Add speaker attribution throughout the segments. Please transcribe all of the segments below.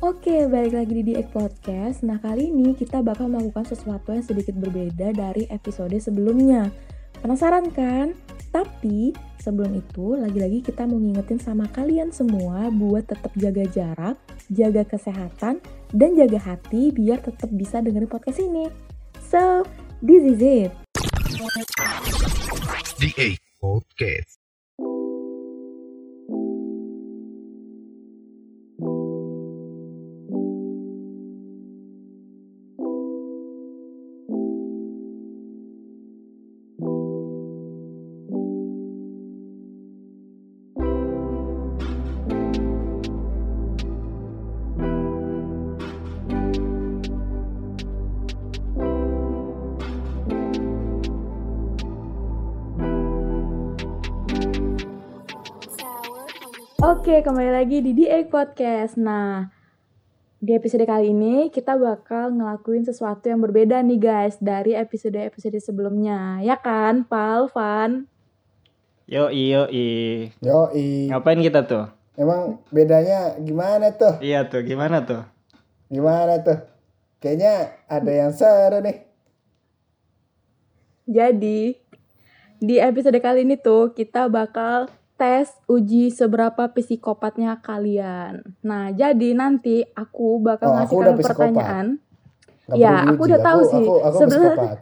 Speaker 1: Oke, balik lagi di DX Podcast. Nah, kali ini kita bakal melakukan sesuatu yang sedikit berbeda dari episode sebelumnya. Penasaran kan? Tapi sebelum itu, lagi-lagi kita mau ngingetin sama kalian semua buat tetap jaga jarak, jaga kesehatan, dan jaga hati biar tetap bisa dengerin podcast ini. So, this is it.
Speaker 2: DA Podcast.
Speaker 1: Oke, kembali lagi di DA Podcast. Nah, di episode kali ini kita bakal ngelakuin sesuatu yang berbeda nih guys dari episode-episode sebelumnya. Ya kan, Pal, Van?
Speaker 3: Yo iyo i.
Speaker 4: Yoi.
Speaker 3: Ngapain kita tuh?
Speaker 4: Emang bedanya gimana tuh?
Speaker 3: Iya tuh, gimana tuh?
Speaker 4: Gimana tuh? Kayaknya ada yang seru nih.
Speaker 1: Jadi, di episode kali ini tuh kita bakal tes uji seberapa psikopatnya kalian. Nah, jadi nanti aku bakal
Speaker 4: Oh,
Speaker 1: ngasih
Speaker 4: aku udah
Speaker 1: kalian
Speaker 4: psikopat.
Speaker 1: pertanyaan.
Speaker 4: Nggak
Speaker 1: Ya,
Speaker 4: perlu
Speaker 1: aku udah
Speaker 4: diuji.
Speaker 1: tahu sih.
Speaker 4: Aku, aku
Speaker 1: Sebenarnya-
Speaker 4: psikopat.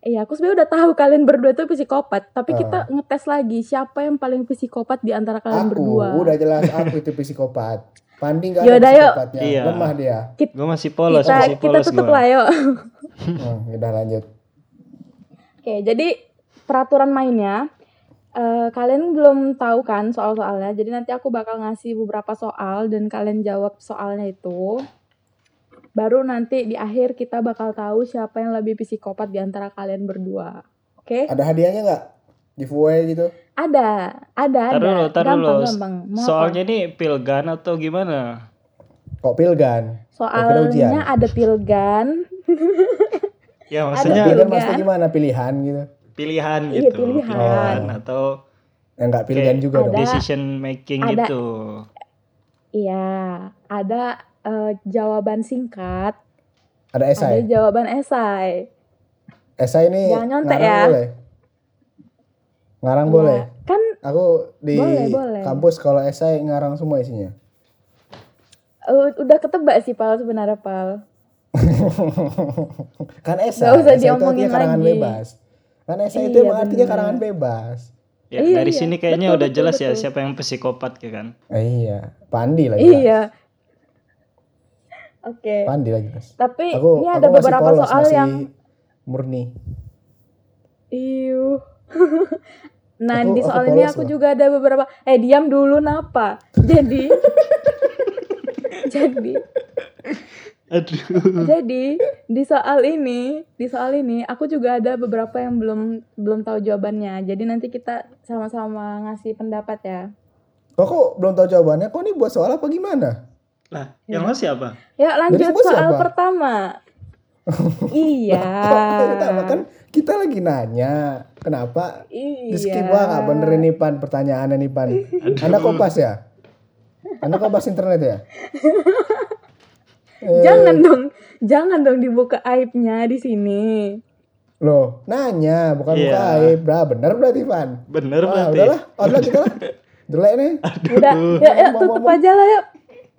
Speaker 1: Iya, aku sebenarnya udah tahu kalian berdua tuh psikopat, tapi
Speaker 4: Ah.
Speaker 1: kita ngetes lagi siapa yang paling psikopat di antara kalian
Speaker 4: Aku
Speaker 1: berdua.
Speaker 4: udah jelas aku itu psikopat. Pandi nggak ada
Speaker 1: Yaudah, yuk.
Speaker 4: psikopatnya.
Speaker 3: Iya.
Speaker 4: Lemah dia.
Speaker 3: Gue masih polos,
Speaker 1: kita
Speaker 3: masih
Speaker 1: kita
Speaker 3: polos
Speaker 1: tutup
Speaker 3: gua.
Speaker 1: lah yuk.
Speaker 4: Hmm, udah lanjut.
Speaker 1: Oke, jadi peraturan mainnya eh, kalian belum tahu kan soal-soalnya. Jadi nanti aku bakal ngasih beberapa soal dan kalian jawab soalnya itu. Baru nanti di akhir kita bakal tahu siapa yang lebih psikopat di antara kalian berdua. Oke?
Speaker 4: Ada hadiahnya nggak? Giveaway gitu?
Speaker 1: Ada, ada, ada.
Speaker 3: Tar dulu, tar
Speaker 1: gampang,
Speaker 3: dulu.
Speaker 1: gampang. Mau apa?
Speaker 3: Soalnya ini pilgan atau gimana?
Speaker 4: Kok pilgan? kira ujian.
Speaker 1: soalnya ada pilgan, Ada
Speaker 3: Ya maksudnya
Speaker 1: pil-
Speaker 4: Pilgan
Speaker 1: Pilgan.
Speaker 4: maksudnya gimana? Pilihan gitu?
Speaker 3: pilihan
Speaker 1: Iya,
Speaker 3: gitu,
Speaker 1: pilihan.
Speaker 3: atau
Speaker 4: Ya nggak pilihan
Speaker 3: Oke.
Speaker 4: juga dong.
Speaker 1: Ada.
Speaker 3: decision making
Speaker 1: Ada.
Speaker 3: gitu.
Speaker 1: iya, ada eh, jawaban singkat,
Speaker 4: Ada
Speaker 1: ada
Speaker 4: esai.
Speaker 1: jawaban esai.
Speaker 4: Esai ini
Speaker 1: Jangan nyontek
Speaker 4: ngarang
Speaker 1: ya.
Speaker 4: boleh. Ngarang
Speaker 1: Iya.
Speaker 4: boleh.
Speaker 1: Kan
Speaker 4: Aku di
Speaker 1: Boleh, boleh.
Speaker 4: kampus kalau esai ngarang semua isinya.
Speaker 1: eh, udah ketebak sih Pal sebenarnya Pal.
Speaker 4: kan
Speaker 1: Nggak
Speaker 4: esai,
Speaker 1: usah
Speaker 4: esai itu
Speaker 1: diomongin
Speaker 4: artinya karangan
Speaker 1: lagi.
Speaker 4: bebas. Kan esai itu
Speaker 1: Iya,
Speaker 4: emang artinya
Speaker 1: bener.
Speaker 4: karangan bebas.
Speaker 3: Ya,
Speaker 1: Iya,
Speaker 3: dari
Speaker 1: iya.
Speaker 3: sini kayaknya
Speaker 1: Betul,
Speaker 3: udah
Speaker 1: betul,
Speaker 3: jelas ya
Speaker 1: betul.
Speaker 3: siapa yang psikopat ya kan.
Speaker 4: Eh, iya, Pandi lagi.
Speaker 1: Iya. Oke.
Speaker 4: Pandi lagi. Mas.
Speaker 1: Tapi
Speaker 4: Aku,
Speaker 1: ini
Speaker 4: aku
Speaker 1: ada
Speaker 4: masih
Speaker 1: beberapa
Speaker 4: polos,
Speaker 1: soal
Speaker 4: masih
Speaker 1: yang
Speaker 4: murni.
Speaker 1: iu. nah,
Speaker 4: Aku-
Speaker 1: di
Speaker 4: aku
Speaker 1: soal ini
Speaker 4: polos
Speaker 1: aku
Speaker 4: loh.
Speaker 1: juga ada beberapa eh diam dulu napa. Jadi Jadi
Speaker 3: Aduh.
Speaker 1: jadi di soal ini, di soal ini aku juga ada beberapa yang belum belum tahu jawabannya. Jadi nanti kita sama-sama ngasih pendapat ya.
Speaker 4: Kok, kok belum tahu jawabannya? Kok ini buat soal apa gimana?
Speaker 3: Lah, yang
Speaker 1: Iya.
Speaker 3: lo siapa?
Speaker 1: Yuk Ya, lanjut
Speaker 4: semua
Speaker 1: soal
Speaker 4: siapa?
Speaker 1: pertama. iya.
Speaker 4: Kok pertama kan kita lagi nanya, kenapa
Speaker 1: Iya.
Speaker 4: di skip wah nggak bener ini pan pertanyaannya nih pan. Anda kopas ya? Anda kopas internet ya? Eh,
Speaker 1: Jangan dong, jangan dong dibuka aibnya di sini.
Speaker 4: Loh, nanya bukan
Speaker 3: Iya.
Speaker 4: buka aib. Nah, bener berarti Van.
Speaker 3: Bener berarti.
Speaker 4: Wah, Ah, udahlah, udahlah kita lah. Jelek nih.
Speaker 1: Udah, ya, ya
Speaker 4: Ngomong-ngomong.
Speaker 1: tutup aja lah ya.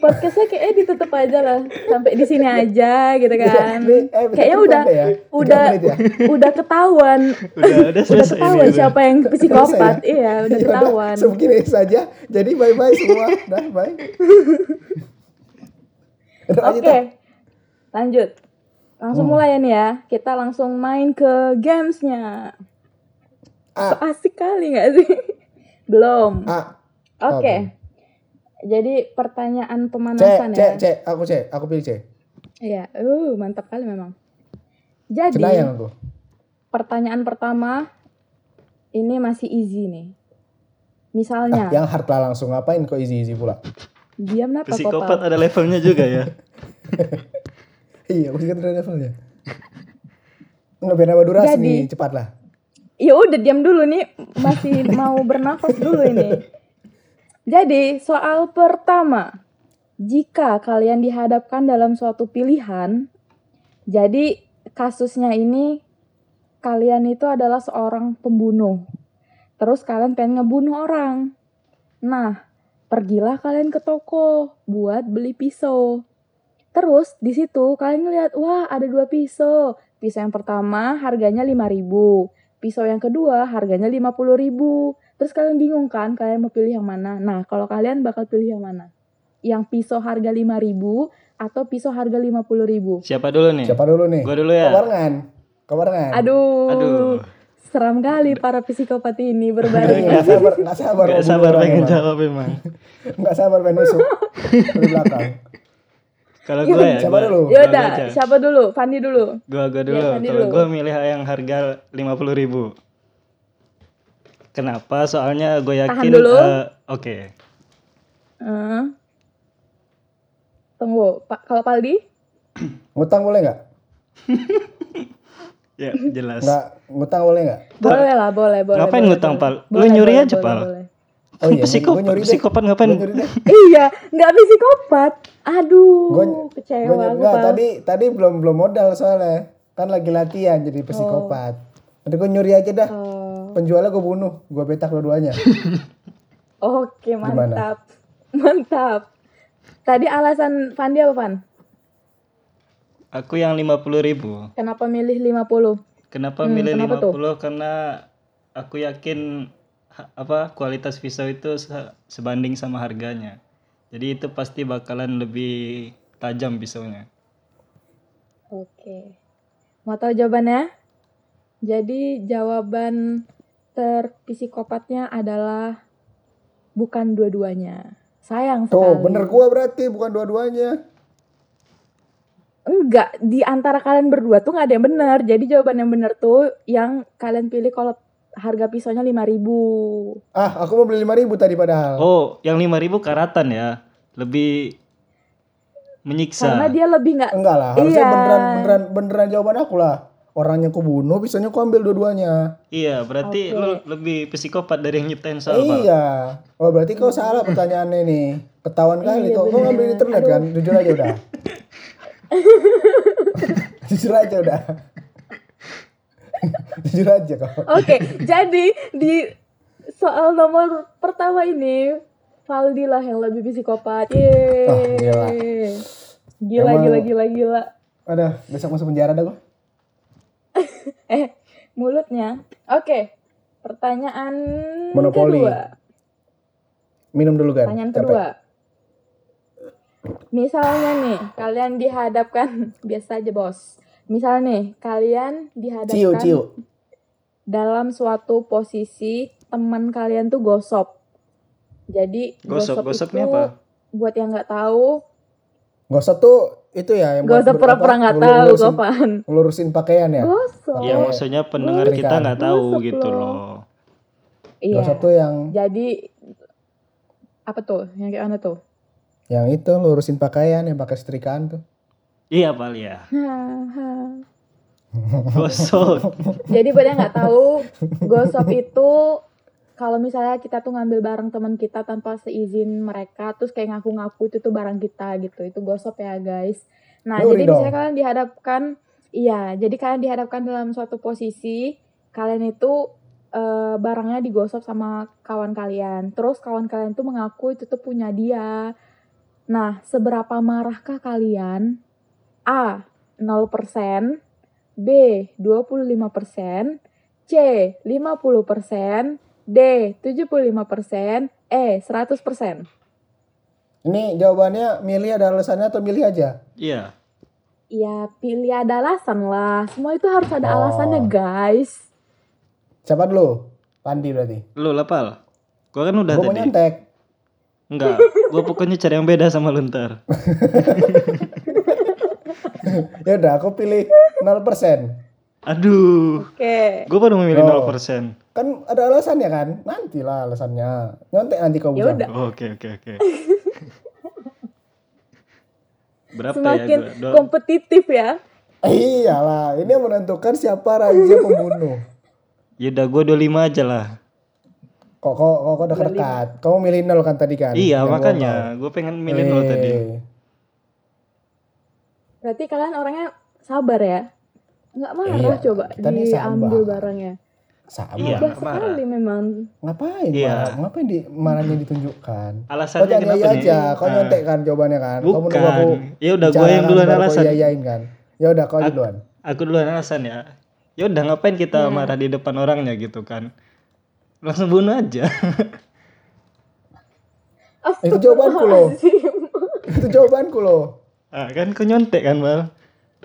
Speaker 1: Podcastnya kayaknya ditutup aja lah, sampai di sini aja gitu kan.
Speaker 4: Ini, eh,
Speaker 1: Kayaknya
Speaker 4: cukup
Speaker 1: udah,
Speaker 4: deh ya. Tiga
Speaker 1: udah,
Speaker 4: menit ya.
Speaker 1: udah ketahuan,
Speaker 3: Udah, udah
Speaker 1: udah
Speaker 3: selesai
Speaker 1: ketahuan
Speaker 3: ini.
Speaker 1: siapa yang psikopat.
Speaker 4: Selesai
Speaker 1: Iya, udah
Speaker 4: Ya udah,
Speaker 1: ketahuan.
Speaker 4: Segini saja. Jadi bye-bye semua. Dah, bye. Udah,
Speaker 1: Oke,
Speaker 4: lanjut, Hmm. ah.
Speaker 1: lanjut. Langsung mulai ya nih ya. Kita langsung main ke gamesnya.
Speaker 4: Ah.
Speaker 1: Asik kali nggak sih? Belum.
Speaker 4: Ah,
Speaker 1: Oke.
Speaker 4: belum.
Speaker 1: Jadi pertanyaan
Speaker 4: C,
Speaker 1: pemanasan
Speaker 4: C,
Speaker 1: ya.
Speaker 4: C, aku C, aku pilih C.
Speaker 1: Iya. Uh, mantap kali memang. Jadi
Speaker 4: Cenayang aku.
Speaker 1: pertanyaan pertama ini masih easy nih.
Speaker 4: Ah,
Speaker 1: Misalnya,
Speaker 4: yang hard lah langsung ngapain kok easy-easy pula?
Speaker 1: diam kenapa kok, Pak?
Speaker 3: Psikopat ada levelnya juga ya.
Speaker 4: Iya, aku juga ternyata levelnya. Nggak biar nambah durasi
Speaker 1: Jadi.
Speaker 4: nih, cepat lah.
Speaker 1: Ya udah diam dulu nih, masih mau bernafas dulu ini. Jadi, soal pertama. Jika kalian dihadapkan dalam suatu pilihan, jadi kasusnya ini kalian itu adalah seorang pembunuh. Terus kalian pengen ngebunuh orang. Nah, pergilah kalian ke toko buat beli pisau. Terus di situ kalian ngeliat, wah ada dua pisau. Pisau yang pertama harganya 5000 pisau yang kedua harganya 50.000 Terus kalian bingung kan kalian mau pilih yang mana? Nah, kalau kalian bakal pilih yang mana? Yang pisau harga 5.000 atau pisau harga 50.000?
Speaker 3: Siapa dulu nih?
Speaker 4: Siapa dulu nih?
Speaker 3: Gua dulu ya.
Speaker 4: Kewarengan. Kewarengan.
Speaker 1: Aduh.
Speaker 3: Aduh.
Speaker 1: Seram kali para psikopat ini berbaring. ya.
Speaker 4: Nggak sabar, Iya. nggak sabar.
Speaker 3: Gak
Speaker 4: mau
Speaker 3: sabar
Speaker 4: bunuh orang
Speaker 3: pengen
Speaker 4: emang.
Speaker 3: jawab emang.
Speaker 4: Nggak sabar pengen nusuk. Dari belakang.
Speaker 3: Kalau gue ya,
Speaker 4: Iya, Siapa
Speaker 3: gua-
Speaker 4: dulu?
Speaker 3: gua
Speaker 1: Yaudah,
Speaker 3: aja.
Speaker 1: siapa dulu? Fandi dulu.
Speaker 3: Gua gua dulu.
Speaker 1: Iya, Fandi
Speaker 3: Kalau
Speaker 1: dulu.
Speaker 3: gua milih yang harga 50.000 Kenapa? Soalnya gue yakin.
Speaker 1: dulu.
Speaker 3: eh, Oke.
Speaker 1: Eh. Tunggu, Pak kalau Paldi?
Speaker 4: Ngutang boleh nggak?
Speaker 3: Ya jelas.
Speaker 4: Nggak, ngutang boleh nggak?
Speaker 1: Boleh lah, boleh, boleh.
Speaker 3: Ngapain
Speaker 1: boleh,
Speaker 3: ngutang,
Speaker 1: boleh.
Speaker 3: Pal? Lu
Speaker 1: Boleh,
Speaker 3: nyuri
Speaker 1: boleh,
Speaker 3: aja,
Speaker 1: boleh,
Speaker 3: Pal.
Speaker 1: boleh.
Speaker 4: Oh iya, gua
Speaker 3: psikopat,
Speaker 4: nyuri deh.
Speaker 3: psikopat ngapain?
Speaker 4: Gua nyuri deh.
Speaker 1: iya, nggak psikopat. Aduh,
Speaker 4: Gua-
Speaker 1: Oh, kecewa
Speaker 4: Gua nyuri-
Speaker 1: aku,
Speaker 4: nggak,
Speaker 1: Pal.
Speaker 4: tadi tadi belum belum modal soalnya. Kan lagi latihan jadi psikopat. Nanti gue nyuri aja dah.
Speaker 1: Oh.
Speaker 4: Penjualnya gue bunuh, gue petak dua-duanya.
Speaker 1: Oh, Oke,
Speaker 4: Gimana?
Speaker 1: mantap. Mantap. Tadi alasan Fandi apa, Pan?
Speaker 3: Aku yang 50.000
Speaker 1: Kenapa milih 50?
Speaker 3: Kenapa
Speaker 1: Hmm,
Speaker 3: milih
Speaker 1: kenapa
Speaker 3: 50?
Speaker 1: tuh?
Speaker 3: Karena aku yakin ha- apa kualitas pisau itu se- sebanding sama harganya. Jadi itu pasti bakalan lebih tajam pisaunya.
Speaker 1: Oke. Mau tahu jawabannya? Jadi jawaban terpsikopatnya adalah bukan dua-duanya. Sayang sekali.
Speaker 4: Tuh, bener gue berarti bukan dua-duanya.
Speaker 1: Enggak, di antara kalian berdua tuh nggak ada yang benar. Jadi jawaban yang benar tuh yang kalian pilih kalau harga pisaunya 5000.
Speaker 4: Ah, aku mau beli lima ribu tadi padahal.
Speaker 3: Oh, yang 5000 karatan ya. Lebih
Speaker 1: Karena
Speaker 3: menyiksa.
Speaker 1: dia lebih nggak
Speaker 4: Enggak lah, harusnya
Speaker 1: Iya.
Speaker 4: beneran beneran beneran jawaban aku lah. Orangnya ku bunuh, bisanya ku ambil dua-duanya.
Speaker 3: Iya,
Speaker 1: Oke.
Speaker 3: berarti lu lebih psikopat dari yang nyiptain soal Pak.
Speaker 4: iya. Oh, berarti kau salah pertanyaannya nih. Ketahuan
Speaker 1: Iya,
Speaker 4: kali kau. Kau
Speaker 1: bener.
Speaker 4: ngambil internet kan? Jujur aja udah. Jujur aja udah. Jujur aja kau.
Speaker 1: Oke, jadi di soal nomor pertama ini Valdi lah yang lebih psikopat. Yeay.
Speaker 4: Ah, gila.
Speaker 1: Gila,
Speaker 4: Emang-
Speaker 1: gila, gila, gila.
Speaker 4: Ada, besok masuk penjara dah gua.
Speaker 1: Eh, mulutnya. Oke. Pertanyaan
Speaker 4: Monopoli.
Speaker 1: kedua.
Speaker 4: Minum dulu kan.
Speaker 1: Pertanyaan
Speaker 4: Capek.
Speaker 1: kedua. Misalnya nih, kalian dihadapkan biasa aja, Bos. Misal nih, kalian dihadapkan
Speaker 4: Ciu, ciu.
Speaker 1: dalam suatu posisi teman kalian tuh gosop. Jadi
Speaker 3: Gosok,
Speaker 1: itu,
Speaker 3: gosoknya apa?
Speaker 1: Buat yang nggak tahu,
Speaker 4: Gosok tuh itu ya yang buat
Speaker 1: gosok
Speaker 4: ber-
Speaker 1: pura-pura
Speaker 4: apa,
Speaker 1: nggak
Speaker 4: ngelu-
Speaker 1: tahu,
Speaker 4: ngelurusin-
Speaker 1: Gopan.
Speaker 4: Ngelurusin pakaian ya.
Speaker 1: Gosok.
Speaker 3: Iya,
Speaker 4: Oh.
Speaker 3: maksudnya pendengar
Speaker 4: Gosok
Speaker 3: kita nggak
Speaker 1: kan.
Speaker 3: tahu
Speaker 1: Gosok
Speaker 3: gitu
Speaker 1: loh.
Speaker 3: loh.
Speaker 1: Iya.
Speaker 4: Gosok tuh yang
Speaker 1: Jadi apa tuh? Yang kayak mana tuh?
Speaker 4: yang itu lurusin pakaian yang pakai setrikaan tuh.
Speaker 3: Iya, Pak, iya.
Speaker 1: Haha.
Speaker 3: Gosok.
Speaker 1: Jadi buat yang nggak tahu, gosop itu kalau misalnya kita tuh ngambil barang teman kita tanpa seizin mereka, terus kayak ngaku-ngaku itu tuh barang kita gitu, itu gosop ya guys. Nah
Speaker 4: Nyuri
Speaker 1: jadi
Speaker 4: dong.
Speaker 1: misalnya kalian dihadapkan, iya, jadi kalian dihadapkan dalam suatu posisi, kalian itu eh, barangnya digosop sama kawan kalian, terus kawan kalian tuh mengaku itu tuh punya dia. Nah seberapa marahkah kalian? A 0%, B 25%, C 50%, D 75%, E 100%.
Speaker 4: Ini jawabannya milih ada alasannya atau milih aja?
Speaker 3: Iya.
Speaker 1: Ya pilih ada alasan lah. Semua itu harus ada
Speaker 4: Oh.
Speaker 1: alasannya guys.
Speaker 4: Siapa dulu? Pandi berarti.
Speaker 3: Lu lapal. Gua kan udah
Speaker 4: Gue mau
Speaker 3: tadi.
Speaker 4: nyontek.
Speaker 3: Enggak, gua pokoknya cari yang beda sama lu ntar.
Speaker 4: Ya udah, aku pilih 0%.
Speaker 3: Aduh,
Speaker 1: Oke.
Speaker 3: gua baru memilih
Speaker 4: Oh.
Speaker 3: 0%.
Speaker 4: Kan ada alasannya kan? Nantilah alasannya. Nyontek nanti kau
Speaker 1: Ya
Speaker 4: bilang.
Speaker 1: udah.
Speaker 3: Oh, Oke, oke, oke. Berapa ya?
Speaker 1: Semakin
Speaker 3: Dua- dua-
Speaker 4: ya,
Speaker 1: kompetitif ya.
Speaker 4: Iyalah, ini yang menentukan siapa raja pembunuh.
Speaker 3: Yaudah gue 25 aja lah.
Speaker 4: Kok kok kok, kok dekat-dekat. Kamu milih nol kan tadi kan?
Speaker 3: iya
Speaker 4: Yang gua
Speaker 3: makanya gue pengen milih nol
Speaker 4: Eh,
Speaker 3: tadi.
Speaker 1: Berarti kalian orangnya sabar ya? Nggak marah
Speaker 4: Iya,
Speaker 1: coba
Speaker 4: kita nih
Speaker 1: diambil
Speaker 4: sabar.
Speaker 1: barangnya.
Speaker 4: Sama.
Speaker 3: Iya,
Speaker 1: Mudah
Speaker 3: marah.
Speaker 1: sekali memang.
Speaker 4: Ngapain?
Speaker 3: Iya.
Speaker 4: marah? Ngapain di marahnya ditunjukkan? Kau
Speaker 3: Alasannya
Speaker 4: tanya
Speaker 3: kenapa
Speaker 4: iya
Speaker 3: nih?
Speaker 4: aja, kau
Speaker 3: Ah,
Speaker 4: nyontek kan jawabannya kan? Kamu nunggu
Speaker 3: Bukan.
Speaker 4: aku
Speaker 3: Ya udah gue yang
Speaker 4: bicara
Speaker 3: duluan
Speaker 4: kan, baru kau
Speaker 3: alasan.
Speaker 4: iyain kan? Ya udah kau
Speaker 3: Aku-
Speaker 4: duluan.
Speaker 3: Aku duluan alasan ya. Ya udah ngapain kita
Speaker 4: Iya.
Speaker 3: marah di depan orangnya gitu kan? Langsung bunuh aja.
Speaker 4: Itu jawabanku loh.
Speaker 1: Astagfirullahaladzim.
Speaker 4: itu jawabanku loh.
Speaker 3: Ah, kan kau nyontek kan mal?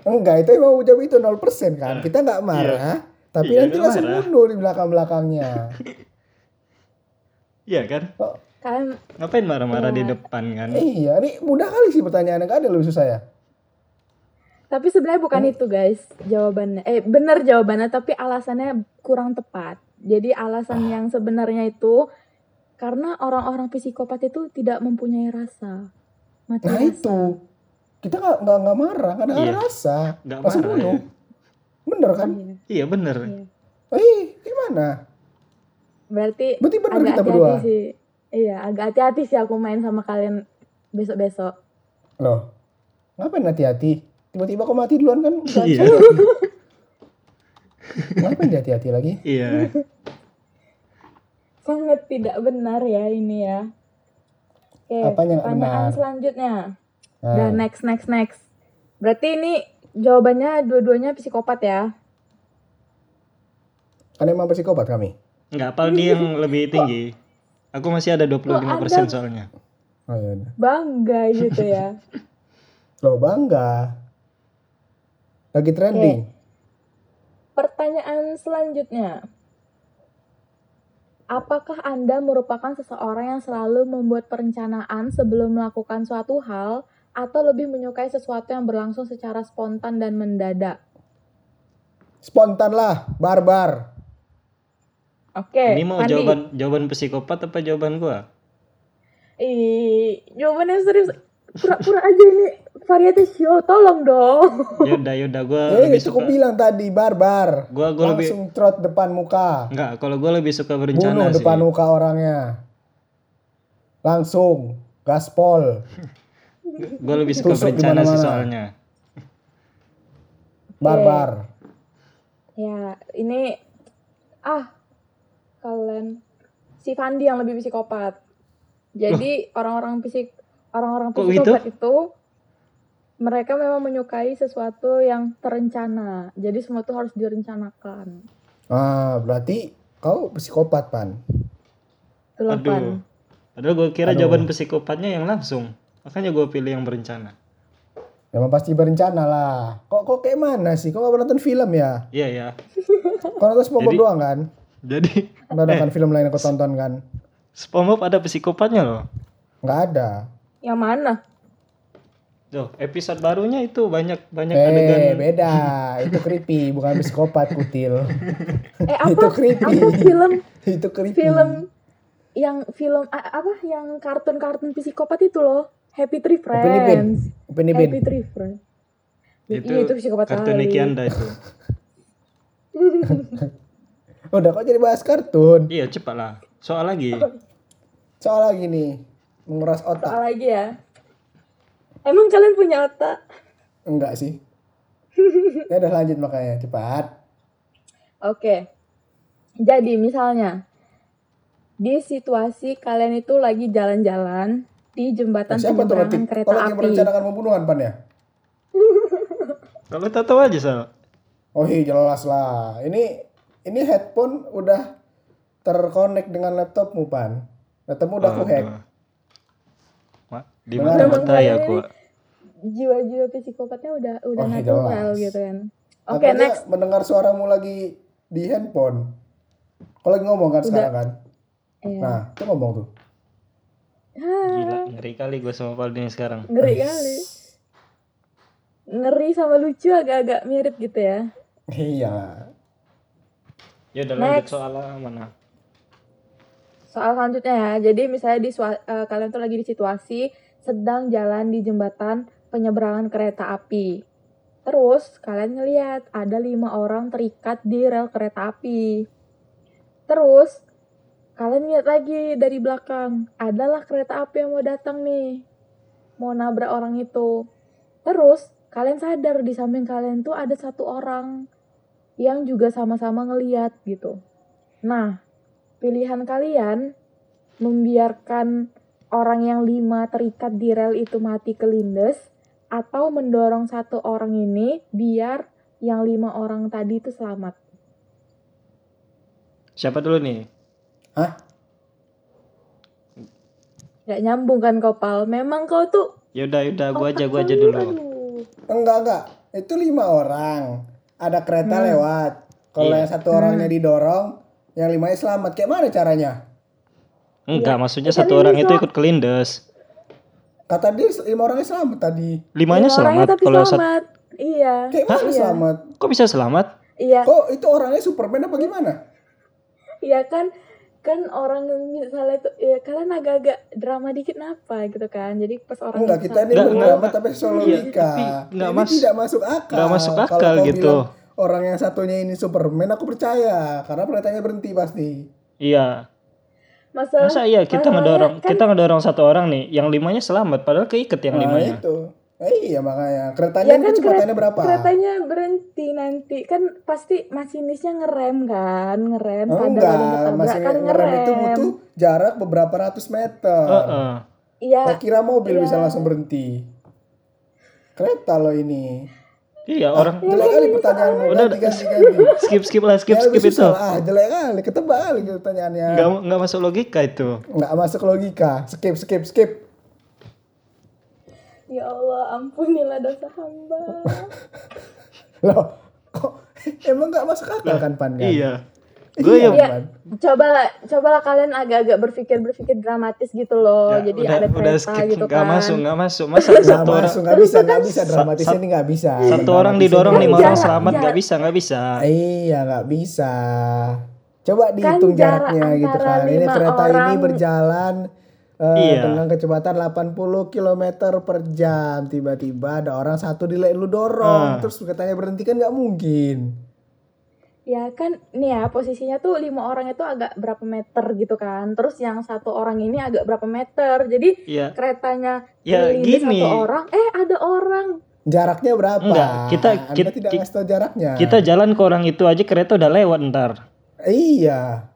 Speaker 4: Enggak, itu emang udah itu 0% kan. Kita nggak marah,
Speaker 3: Nah,
Speaker 4: tapi
Speaker 3: Iya,
Speaker 4: nanti
Speaker 3: nggak
Speaker 4: langsung
Speaker 3: marah.
Speaker 4: bunuh di belakang-belakangnya.
Speaker 3: Iya kan?
Speaker 4: Oh,
Speaker 1: Kalian
Speaker 3: Ngapain marah-marah di depan kan?
Speaker 4: iya, ini mudah kali sih pertanyaannya. Nggak ada lebih susah ya?
Speaker 1: tapi sebenarnya bukan
Speaker 4: Oh.
Speaker 1: itu guys jawabannya. Eh benar jawabannya tapi alasannya kurang tepat. Jadi alasan
Speaker 4: Ah.
Speaker 1: yang sebenarnya itu karena orang-orang psikopat itu tidak mempunyai rasa. Mati rasa.
Speaker 4: Nah itu. Kita nggak nggak nggak marah, nggak ada
Speaker 3: Iya.
Speaker 4: rasa.
Speaker 3: Nggak
Speaker 4: Langsung
Speaker 3: marah
Speaker 4: bunuh.
Speaker 3: ya.
Speaker 4: Bener kan?
Speaker 1: Iya.
Speaker 3: Iya bener.
Speaker 1: Iya.
Speaker 4: Eh, gimana?
Speaker 1: Berarti
Speaker 4: Berarti bener
Speaker 1: agak
Speaker 4: kita berdua.
Speaker 1: hati-hati sih. Iya, agak hati-hati sih aku main sama kalian besok-besok.
Speaker 4: Loh, ngapain hati-hati? Tiba-tiba kau mati duluan kan?
Speaker 3: Iya.
Speaker 4: ngapain dia hati-hati lagi?
Speaker 3: Iya.
Speaker 1: Sangat tidak benar ya ini ya. Oke,
Speaker 4: Apanya nggak
Speaker 1: Eh, pertanyaan
Speaker 4: benar?
Speaker 1: selanjutnya.
Speaker 4: Nah,
Speaker 1: Dan next, next, next. Berarti ini jawabannya dua-duanya psikopat ya?
Speaker 4: kan emang psikopat kami.
Speaker 3: Nggak apal dia yang lebih tinggi. Aku masih ada 25%
Speaker 1: ada-
Speaker 3: soalnya.
Speaker 4: Oh, iya, iya.
Speaker 1: Bangga gitu ya.
Speaker 4: Loh, bangga. Lagi trending.
Speaker 1: Pertanyaan selanjutnya. Apakah Anda merupakan seseorang yang selalu membuat perencanaan sebelum melakukan suatu hal atau lebih menyukai sesuatu yang berlangsung secara spontan dan mendadak?
Speaker 4: Spontan lah, barbar.
Speaker 1: Oke.
Speaker 4: Eh,
Speaker 3: Ini mau
Speaker 1: Fandi.
Speaker 3: jawaban jawaban psikopat apa jawaban gua?
Speaker 1: Ih, jawabannya serius. Pura-pura aja ini variety show, tolong dong.
Speaker 3: Yaudah yaudah ya gua
Speaker 4: Eh,
Speaker 3: lebih
Speaker 4: itu aku
Speaker 3: suka.
Speaker 4: bilang tadi, barbar.
Speaker 3: Gua gua lebih
Speaker 4: Langsung trot depan muka.
Speaker 3: Enggak, kalau gua lebih suka
Speaker 4: Bunuh
Speaker 3: berencana sih.
Speaker 4: depan muka orangnya. Langsung, gaspol.
Speaker 3: Gua lebih suka
Speaker 4: Tusuk
Speaker 3: berencana sih
Speaker 4: dimana-mana.
Speaker 3: soalnya.
Speaker 4: Barbar.
Speaker 1: Ya, ini ah kalian si Fandi yang lebih psikopat. Jadi orang-orang fisik orang-orang
Speaker 3: Kok gitu?
Speaker 1: psikopat itu mereka memang menyukai sesuatu yang terencana. Jadi semua itu harus direncanakan.
Speaker 4: Ah, berarti kau psikopat, Pan.
Speaker 1: Itulah, Pan.
Speaker 3: Aduh. Padahal gua kira
Speaker 4: Aduh.
Speaker 3: jawaban psikopatnya yang langsung. Makanya gua pilih yang berencana.
Speaker 4: Memang pasti berencana lah. Kok kok kayak mana sih? Kok gak pernah nonton film ya?
Speaker 3: Iya ya.
Speaker 4: Kau nonton
Speaker 3: Jadi-
Speaker 4: SpongeBob
Speaker 3: Eh.
Speaker 4: doang kan?
Speaker 3: Jadi
Speaker 4: Nggak ada kan film lain yang kau tonton kan?
Speaker 3: SpongeBob ada psikopatnya loh.
Speaker 4: Nggak ada.
Speaker 1: Yang mana?
Speaker 3: Tuh, episode barunya itu banyak banyak adegan.
Speaker 4: Eh, beda. Itu creepy, bukan psikopat kutil.
Speaker 1: Eh apa?
Speaker 4: Itu creepy.
Speaker 1: Apa film
Speaker 4: Itu creepy.
Speaker 1: film yang film a- apa yang kartun-kartun psikopat itu loh. Happy Tree
Speaker 4: Upin Ipin.
Speaker 1: Friends.
Speaker 4: Upin Ipin.
Speaker 1: Happy Tree Friends.
Speaker 3: Itu
Speaker 1: Iya, itu psikopat
Speaker 3: Kartun
Speaker 1: sekali.
Speaker 3: Niki Anda itu.
Speaker 4: Udah kok jadi bahas kartun.
Speaker 3: iya, cepatlah. Soal lagi.
Speaker 4: Soal lagi nih, menguras otak.
Speaker 1: Soal lagi ya. Emang kalian punya otak?
Speaker 4: Enggak sih. Ya udah lanjut makanya, cepat.
Speaker 1: Oke. Jadi misalnya di situasi kalian itu lagi jalan-jalan di jembatan
Speaker 4: Siapa tuh
Speaker 1: penyeberangan
Speaker 4: nanti?
Speaker 1: kereta
Speaker 4: Tolong yang
Speaker 1: api.
Speaker 4: merencanakan pembunuhan, Pan ya?
Speaker 3: Kalau tahu aja, Sal.
Speaker 4: Oh iya jelas lah. Ini ini headphone udah terkonek dengan laptopmu pan. Laptopmu udah kuhack.
Speaker 3: Aduh. Wah, di
Speaker 4: Benar.
Speaker 3: mata-mata ya
Speaker 1: Emang
Speaker 3: aku.
Speaker 1: Jiwa-jiwa psikopatnya udah udah
Speaker 4: Oh, iya,
Speaker 1: natural
Speaker 4: jelas.
Speaker 1: gitu kan. Oke,
Speaker 4: Makanya
Speaker 1: next.
Speaker 4: Mendengar suaramu lagi di handphone. Kalau lagi ngomong kan
Speaker 1: Udah.
Speaker 4: sekarang kan.
Speaker 1: Iya.
Speaker 4: Nah, itu ngomong tuh.
Speaker 1: Ah,
Speaker 3: Gila, ngeri kali gue sama Paldi sekarang.
Speaker 1: ngeri kali. Ngeri sama lucu agak-agak mirip gitu ya.
Speaker 4: Iya.
Speaker 3: Ya udah lanjut
Speaker 1: Next.
Speaker 3: soal mana?
Speaker 1: Soal selanjutnya ya. Jadi misalnya di sua- eh, kalian tuh lagi di situasi sedang jalan di jembatan penyeberangan kereta api. Terus kalian ngeliat ada lima orang terikat di rel kereta api. Terus kalian lihat lagi dari belakang, adalah kereta api yang mau datang nih. Mau nabrak orang itu. Terus kalian sadar di samping kalian tuh ada satu orang yang juga sama-sama ngeliat gitu. Nah, pilihan kalian membiarkan orang yang lima terikat di rel itu mati kelindes atau mendorong satu orang ini biar yang lima orang tadi itu selamat.
Speaker 3: Siapa dulu nih?
Speaker 1: Gak nyambung kan kopal? Memang kau tuh
Speaker 3: Yaudah, yaudah, gua aja, gua aja
Speaker 1: otak lu,
Speaker 3: dulu.
Speaker 1: aduh.
Speaker 4: Enggak enggak. Itu lima orang. Ada kereta
Speaker 1: Hmm.
Speaker 4: lewat. Kalau
Speaker 3: Iya.
Speaker 4: yang satu orangnya didorong, yang limanya selamat. Kayak mana caranya?
Speaker 3: Enggak, maksudnya
Speaker 1: Iya. Kita
Speaker 3: satu orang
Speaker 1: lima
Speaker 3: itu
Speaker 1: doang.
Speaker 3: ikut kelindes.
Speaker 4: Kata dia lima orangnya selamat tadi.
Speaker 1: Lima
Speaker 3: Limanya
Speaker 1: Iya, orangnya
Speaker 3: selamat.
Speaker 1: tapi
Speaker 3: Kalau satu,
Speaker 1: selamat. Iya,
Speaker 4: Kayak mana
Speaker 1: Hah?
Speaker 4: selamat?
Speaker 3: kok bisa selamat?
Speaker 1: iya,
Speaker 4: Kok itu orangnya Superman apa gimana?
Speaker 1: iya kan? Kan orang yang misalnya itu, ya kalian agak-agak drama dikit napa gitu kan? Jadi pas orang
Speaker 4: Enggak,
Speaker 1: itu
Speaker 4: kita ini
Speaker 3: Enggak,
Speaker 4: berdrama
Speaker 3: enggak.
Speaker 4: tapi solo
Speaker 3: Iya,
Speaker 4: lika.
Speaker 3: tapi enggak
Speaker 4: ini
Speaker 3: mas-
Speaker 4: tidak masuk akal.
Speaker 3: Enggak masuk
Speaker 4: Kalau
Speaker 3: akal
Speaker 4: kau
Speaker 3: gitu.
Speaker 4: bilang orang yang satunya ini Superman aku percaya karena keretanya berhenti pasti.
Speaker 3: Iya.
Speaker 1: masalah
Speaker 3: Masa iya
Speaker 1: masalahnya
Speaker 3: kita ngedorong,
Speaker 1: kan- Ah,
Speaker 3: kita ngedorong satu orang nih, yang limanya selamat padahal keiket yang
Speaker 4: Nah,
Speaker 3: limanya.
Speaker 4: itu. Eh, iya makanya keretanya
Speaker 1: Ya
Speaker 4: ini
Speaker 1: kan,
Speaker 4: kecepatannya berapa?
Speaker 1: keretanya berhenti nanti kan pasti masinisnya ngerem kan ngerem
Speaker 4: Oh,
Speaker 1: sadar
Speaker 4: enggak,
Speaker 1: udah ketabrak
Speaker 4: masih
Speaker 1: kan
Speaker 4: ngerem itu butuh jarak beberapa ratus meter.
Speaker 3: Heeh.
Speaker 1: iya
Speaker 4: Tak kira mobil
Speaker 1: Iya.
Speaker 4: bisa langsung berhenti. Kereta loh ini.
Speaker 3: Iya, orang
Speaker 4: Ah, jelek kali pertanyaanmu.
Speaker 3: Udah,
Speaker 4: Ganti, ganti, ganti.
Speaker 3: skip skip lah, skip
Speaker 4: Ya,
Speaker 3: skip
Speaker 4: lebih
Speaker 3: itu.
Speaker 4: susah. Ah, jelek kali. Ketebak kali pertanyaannya.
Speaker 3: Enggak enggak masuk logika itu.
Speaker 4: Nggak masuk logika. Skip, skip, skip.
Speaker 1: ya Allah ampunilah dosa hamba
Speaker 4: Loh, kok emang nggak masuk akal kan Pan? kan?
Speaker 3: Iya. Gue yang
Speaker 1: Iya. cobalah cobalah kalian agak-agak berpikir berpikir dramatis gitu loh
Speaker 3: Ya,
Speaker 1: jadi ada kereta gitu
Speaker 3: nggak
Speaker 1: kan
Speaker 3: masuk nggak masuk masa
Speaker 4: Nggak
Speaker 3: satu orang
Speaker 4: masuk, nggak bisa, nggak bisa. Dramatis
Speaker 3: Sa-
Speaker 4: ini nggak bisa.
Speaker 3: satu orang
Speaker 4: Dramatis
Speaker 3: didorong
Speaker 4: ini
Speaker 3: lima
Speaker 1: Kan
Speaker 3: orang
Speaker 1: jarak-
Speaker 3: selamat nggak
Speaker 1: jarak.
Speaker 3: bisa nggak bisa
Speaker 4: Iya, nggak bisa. Coba dihitung
Speaker 1: Kan jarak
Speaker 4: jaraknya gitu
Speaker 1: antara
Speaker 4: kan. Ini
Speaker 1: lima
Speaker 4: kereta ini
Speaker 1: orang-
Speaker 4: berjalan eh,
Speaker 3: Iya.
Speaker 4: dengan kecepatan 80 km per jam. Tiba-tiba ada orang satu di lu
Speaker 3: Ah.
Speaker 4: dorong, terus katanya berhenti kan nggak mungkin.
Speaker 1: ya kan nih ya posisinya tuh lima orang itu agak berapa meter gitu kan terus yang satu orang ini agak berapa meter jadi
Speaker 3: ya
Speaker 1: keretanya
Speaker 3: ya
Speaker 1: keliling
Speaker 3: gini
Speaker 1: satu orang eh ada orang
Speaker 4: Jaraknya berapa?
Speaker 3: Nggak, kita-
Speaker 4: Anda
Speaker 3: kita-
Speaker 4: tidak
Speaker 3: ki-
Speaker 4: ngasih tahu jaraknya.
Speaker 3: kita jalan ke orang itu aja kereta udah lewat ntar
Speaker 4: Iya,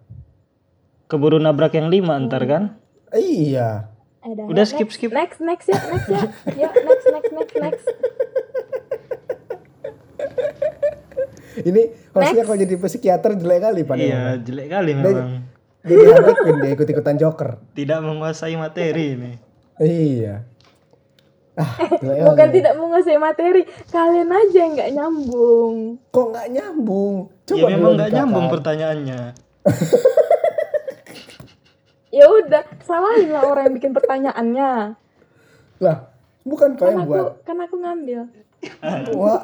Speaker 3: keburu nabrak yang lima ntar kan
Speaker 4: iya.
Speaker 1: Eh, dah,
Speaker 3: Udah,
Speaker 1: ya,
Speaker 3: skip,
Speaker 1: next,
Speaker 3: skip.
Speaker 1: Next next ya next ya. ya next next next next.
Speaker 4: Ini
Speaker 1: Next.
Speaker 4: hostnya kalau jadi psikiater jelek kali pada
Speaker 3: iya jelek kali memang
Speaker 4: Jadi Harley Quinn dia ikut-ikutan Joker.
Speaker 3: tidak menguasai materi ini
Speaker 4: Iya. Ah, jelek
Speaker 1: Bukan
Speaker 4: kali.
Speaker 1: tidak menguasai materi, kalian aja yang nggak nyambung.
Speaker 4: Kok nggak nyambung? Coba
Speaker 3: ya memang
Speaker 4: dulu
Speaker 3: nggak
Speaker 4: dikakak.
Speaker 3: nyambung pertanyaannya
Speaker 1: Ya udah, salahin lah orang yang bikin pertanyaannya.
Speaker 4: Lah, bukan kau
Speaker 1: Kan
Speaker 4: yang
Speaker 1: aku
Speaker 4: buat.
Speaker 1: kan aku ngambil.
Speaker 4: Wah,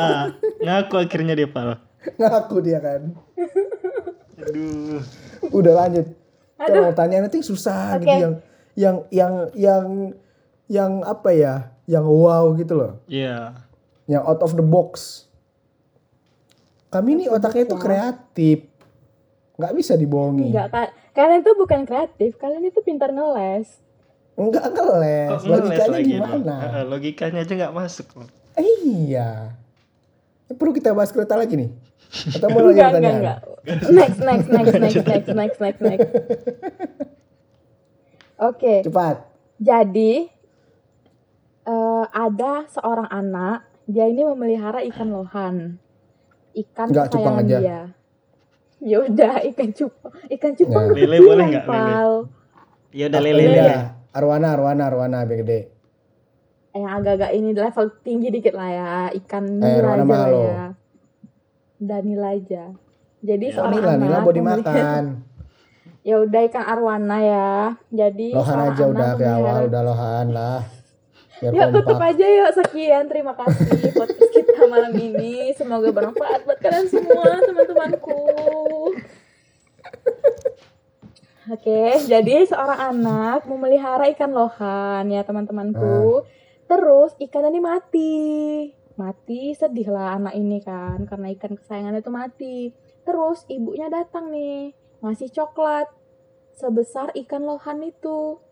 Speaker 3: ah ngaku akhirnya dia pal
Speaker 4: ngaku dia kan.
Speaker 3: aduh
Speaker 4: Udah lanjut. Kalau
Speaker 1: Aduh.
Speaker 4: tanya nanti susah
Speaker 1: Oke.
Speaker 4: gitu yang yang yang yang yang apa ya? Yang wow gitu loh.
Speaker 3: iya
Speaker 4: Yang out of the box. Kami ini otaknya itu kreatif. Nggak bisa dibohongi.
Speaker 1: Enggak, Kak. Kalian tuh bukan kreatif, kalian itu pintar ngeles.
Speaker 4: Enggak ngeles.
Speaker 3: Kok ngeles
Speaker 4: Logikanya
Speaker 3: lagi,
Speaker 4: gimana?
Speaker 3: Bang? Ah, logikanya aja nggak masuk loh.
Speaker 4: Eh, iya. Ini Perlu kita bahas kereta lagi nih? Atau mau
Speaker 1: Enggak,
Speaker 4: lagi
Speaker 1: enggak,
Speaker 4: pertanyaan?
Speaker 1: enggak. Next, next, next, next, next, next, next, next. Oke.
Speaker 4: Cepat.
Speaker 1: Jadi eh, ada seorang anak, dia ini memelihara ikan lohan. Ikan
Speaker 4: Nggak, cupang
Speaker 1: kesayangan
Speaker 4: aja.
Speaker 1: dia. Ya udah, ikan cupang. Ikan cupang
Speaker 4: Nggak.
Speaker 3: Lele
Speaker 1: kekecilan,
Speaker 3: boleh nggak, Lele?
Speaker 1: Pal.
Speaker 3: Iya udah
Speaker 4: Ah,
Speaker 3: lele
Speaker 1: Lele.
Speaker 3: lele.
Speaker 4: Arwana, Arwana, Arwana, biar gede.
Speaker 1: Yang agak-agak ini level tinggi dikit lah ya, ikan
Speaker 4: Eh,
Speaker 1: nila
Speaker 4: warna
Speaker 1: aja lah
Speaker 4: mahal
Speaker 1: ya. Dan nila aja. Jadi
Speaker 3: Ya,
Speaker 1: seorang
Speaker 4: Nila,
Speaker 1: anak
Speaker 4: Nila mau
Speaker 1: memelihara-
Speaker 4: dimakan.
Speaker 1: Ya udah ikan arwana ya. Jadi
Speaker 4: Lohan
Speaker 1: seorang
Speaker 4: aja
Speaker 1: anak
Speaker 4: udah ke
Speaker 1: memelihara-
Speaker 4: awal, udah Lohan lah. Biar
Speaker 1: Ya tutup
Speaker 4: kompak.
Speaker 1: aja yuk sekian terima kasih podcast kita malam ini semoga bermanfaat buat kalian semua teman-temanku. Oke, jadi seorang anak
Speaker 4: Ah.
Speaker 1: memelihara ikan lohan ya teman-temanku. Terus ikan ini mati. mati sedih lah anak ini kan karena ikan kesayangannya itu mati terus ibunya datang nih ngasih coklat sebesar ikan lohan itu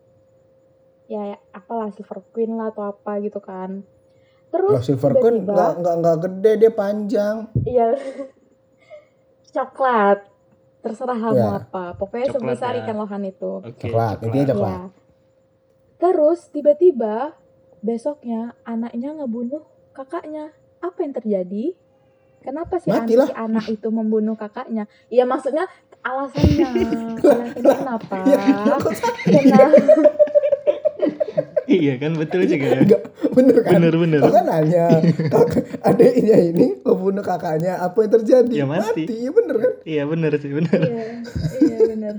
Speaker 1: ya, ya apalah silver queen lah atau apa gitu kan
Speaker 4: Loh,
Speaker 1: terus
Speaker 4: Silver Queen
Speaker 1: tiba-tiba-
Speaker 4: nggak nggak nggak gede dia panjang.
Speaker 1: Iya. coklat. Terserah kamu
Speaker 4: Ya.
Speaker 1: apa. Pokoknya
Speaker 3: Coklat
Speaker 1: sebesar
Speaker 3: ya.
Speaker 1: ikan lohan itu.
Speaker 3: Oke,
Speaker 4: Coklat, intinya coklat.
Speaker 1: Iya. Terus tiba-tiba besoknya anaknya ngebunuh kakaknya. Apa yang terjadi? Kenapa si an-
Speaker 4: Matilah.
Speaker 1: si anak itu membunuh kakaknya? Iya maksudnya alasannya. alasannya kenapa?
Speaker 4: Ya, kok sakit?
Speaker 1: Kenapa?
Speaker 3: Iya kan betul juga ya.
Speaker 4: Nggak, bener kan?
Speaker 3: Bener bener.
Speaker 4: Kau kan nanya, kakak, adiknya ini ngebunuh kakaknya, apa yang terjadi?
Speaker 3: Ya, mati.
Speaker 4: ya bener kan?
Speaker 3: Iya bener sih bener.
Speaker 1: Iya, iya benar.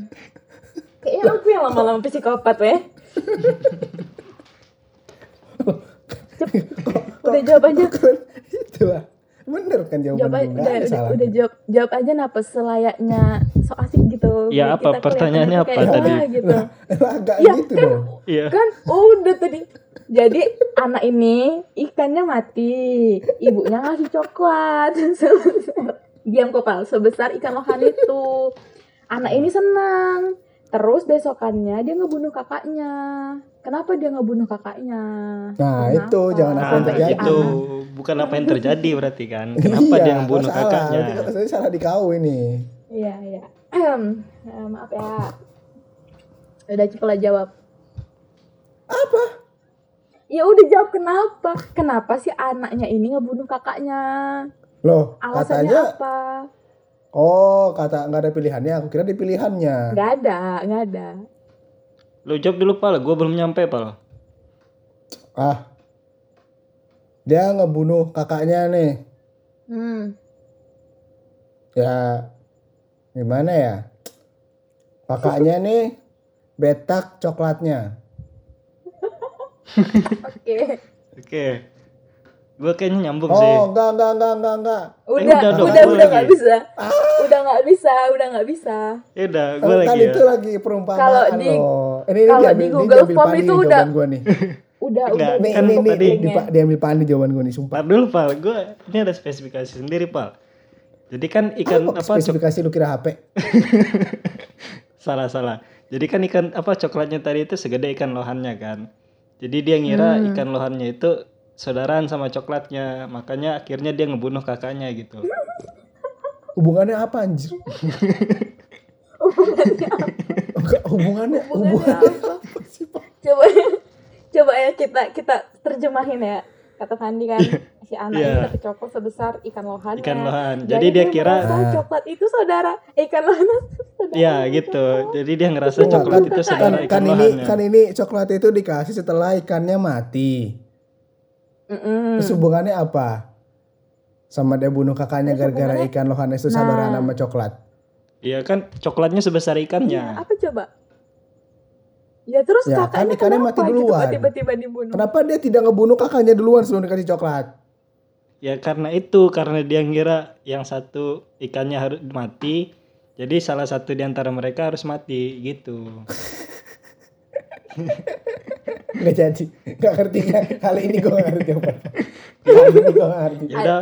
Speaker 1: Kayaknya aku yang lama-lama psikopat weh. Cep, udah jawab aja.
Speaker 4: Keren, itu lah. Bener kan jawaban
Speaker 1: Jawab aja,
Speaker 4: lu, nggak
Speaker 1: udah,
Speaker 4: ada
Speaker 1: udah,
Speaker 4: salahnya.
Speaker 1: udah jawab, jawab aja napa selayaknya so asik gitu. Biar
Speaker 3: Ya, apa?
Speaker 1: kita
Speaker 3: Pertanyaannya
Speaker 1: kelihatannya kayak,
Speaker 3: apa tadi?
Speaker 1: wah, gitu.
Speaker 4: Lah, lah, nggak
Speaker 1: Ya,
Speaker 4: gitu
Speaker 1: kan-
Speaker 4: dong.
Speaker 3: Iya.
Speaker 1: Kan udah tadi. Jadi anak ini ikannya mati, ibunya ngasih coklat. Diam kok pal, sebesar ikan lohan itu. Anak ini senang. Terus besokannya dia ngebunuh kakaknya. Kenapa dia ngebunuh kakaknya?
Speaker 4: Nah,
Speaker 1: Kenapa?
Speaker 4: itu, jangan apa yang
Speaker 3: Nah,
Speaker 4: terjadi.
Speaker 3: itu
Speaker 1: Sampai si
Speaker 3: bukan apa yang terjadi berarti kan. Kenapa
Speaker 4: Iya, kan-
Speaker 3: dia yang bunuh
Speaker 4: kau salah.
Speaker 3: kakaknya?
Speaker 4: Berarti kau- Saya salah di kau ini.
Speaker 1: anak- Iya, iya. Ahem, eh, maaf ya. Udah cepet lah jawab.
Speaker 4: Apa?
Speaker 1: Ya udah jawab kenapa? Kenapa sih anaknya ini ngebunuh kakaknya?
Speaker 4: Loh,
Speaker 1: Alasannya
Speaker 4: katanya,
Speaker 1: apa?
Speaker 4: oh kata nggak ada pilihannya, aku kira di pilihannya.
Speaker 1: Nggak ada, nggak ada.
Speaker 3: Lu jawab dulu pal, gue belum nyampe pal.
Speaker 4: Ah, dia ngebunuh kakaknya nih.
Speaker 1: Hmm.
Speaker 4: Ya, gimana ya? Kakaknya nih betak coklatnya.
Speaker 1: Oke.
Speaker 4: Eh,
Speaker 3: Oke. Gue kayaknya nyambung sih.
Speaker 4: Oh, enggak, enggak, enggak, enggak, enggak.
Speaker 1: Udah,
Speaker 3: udah
Speaker 1: udah,
Speaker 3: dong,
Speaker 1: udah,
Speaker 3: gua lagi.
Speaker 1: nggak bisa.
Speaker 4: Ah.
Speaker 1: Udah nggak bisa, udah nggak bisa.
Speaker 3: Ya udah, gue
Speaker 4: Kan
Speaker 3: lagi ya.
Speaker 4: itu lagi perumpamaan
Speaker 1: Kalau di-
Speaker 4: loh. Ini, ini
Speaker 1: kalau
Speaker 4: diambil,
Speaker 1: di
Speaker 4: ini
Speaker 1: Google
Speaker 4: diambil
Speaker 1: Form
Speaker 4: Pani
Speaker 1: itu
Speaker 4: nih
Speaker 1: udah-
Speaker 4: jawaban gua nih.
Speaker 3: Kan
Speaker 1: Udah,
Speaker 3: Enggak,
Speaker 1: udah.
Speaker 4: Nih,
Speaker 3: Kan
Speaker 4: ini, ini,
Speaker 3: tadi-
Speaker 4: di- dipa- diambil Pani jawaban gua nih, sumpah.
Speaker 3: Ntar dulu pal, gue ini ada spesifikasi sendiri pal. Jadi kan ikan
Speaker 4: Apa
Speaker 3: apa? cok-
Speaker 4: spesifikasi lu kira HP?
Speaker 3: salah salah. Jadi kan ikan apa coklatnya tadi itu segede ikan lohannya kan. Jadi dia ngira
Speaker 1: Hmm.
Speaker 3: ikan lohannya itu saudaraan sama coklatnya, makanya akhirnya dia ngebunuh kakaknya gitu.
Speaker 4: Hubungannya apa anjir?
Speaker 1: Hubungannya
Speaker 4: Enggak, hubungannya,
Speaker 1: Hubungannya
Speaker 4: hubungannya
Speaker 1: apa?
Speaker 4: apa sih, Pak?
Speaker 1: Coba, coba ya kita kita terjemahin ya. Kata Fandi kan, si anak
Speaker 3: Iya.
Speaker 1: ini terkecokok sebesar ikan lohan. ya.
Speaker 3: Ikan lohan. Jadi, dia kira eh,
Speaker 1: merasa coklat itu saudara, ikan lohan itu saudara.
Speaker 3: ya gitu. Jadi dia ngerasa
Speaker 4: Enggak,
Speaker 3: coklat
Speaker 4: kan-
Speaker 3: itu
Speaker 1: kan-
Speaker 3: saudara
Speaker 4: kan,
Speaker 3: ikan
Speaker 4: kan ini
Speaker 3: lohannya.
Speaker 4: kan ini coklat itu dikasih setelah ikannya mati.
Speaker 1: Mm-mm.
Speaker 4: Terus hubungannya apa? Sama dia bunuh kakaknya
Speaker 1: Terus
Speaker 4: gara-gara
Speaker 1: hubungannya-
Speaker 4: ikan lohannya itu
Speaker 1: Nah.
Speaker 4: saudara sama coklat.
Speaker 3: Iya kan coklatnya sebesar
Speaker 1: Iya,
Speaker 3: ikannya.
Speaker 1: apa coba? Ya terus
Speaker 4: Ya, kan
Speaker 1: kakaknya
Speaker 4: ikannya mati
Speaker 1: kenapa gitu kok
Speaker 4: duluan.
Speaker 1: tiba-tiba dibunuh?
Speaker 4: Kenapa dia tidak ngebunuh kakaknya duluan sebelum dikasih coklat?
Speaker 3: Ya karena itu, karena dia ngira yang satu ikannya harus mati, jadi salah satu di antara mereka harus mati gitu.
Speaker 4: Gak jadi, gak ngerti kan? Kali ini gue gak ngerti jawaban. Kali ini gue gak ngerti.
Speaker 3: Ya udah,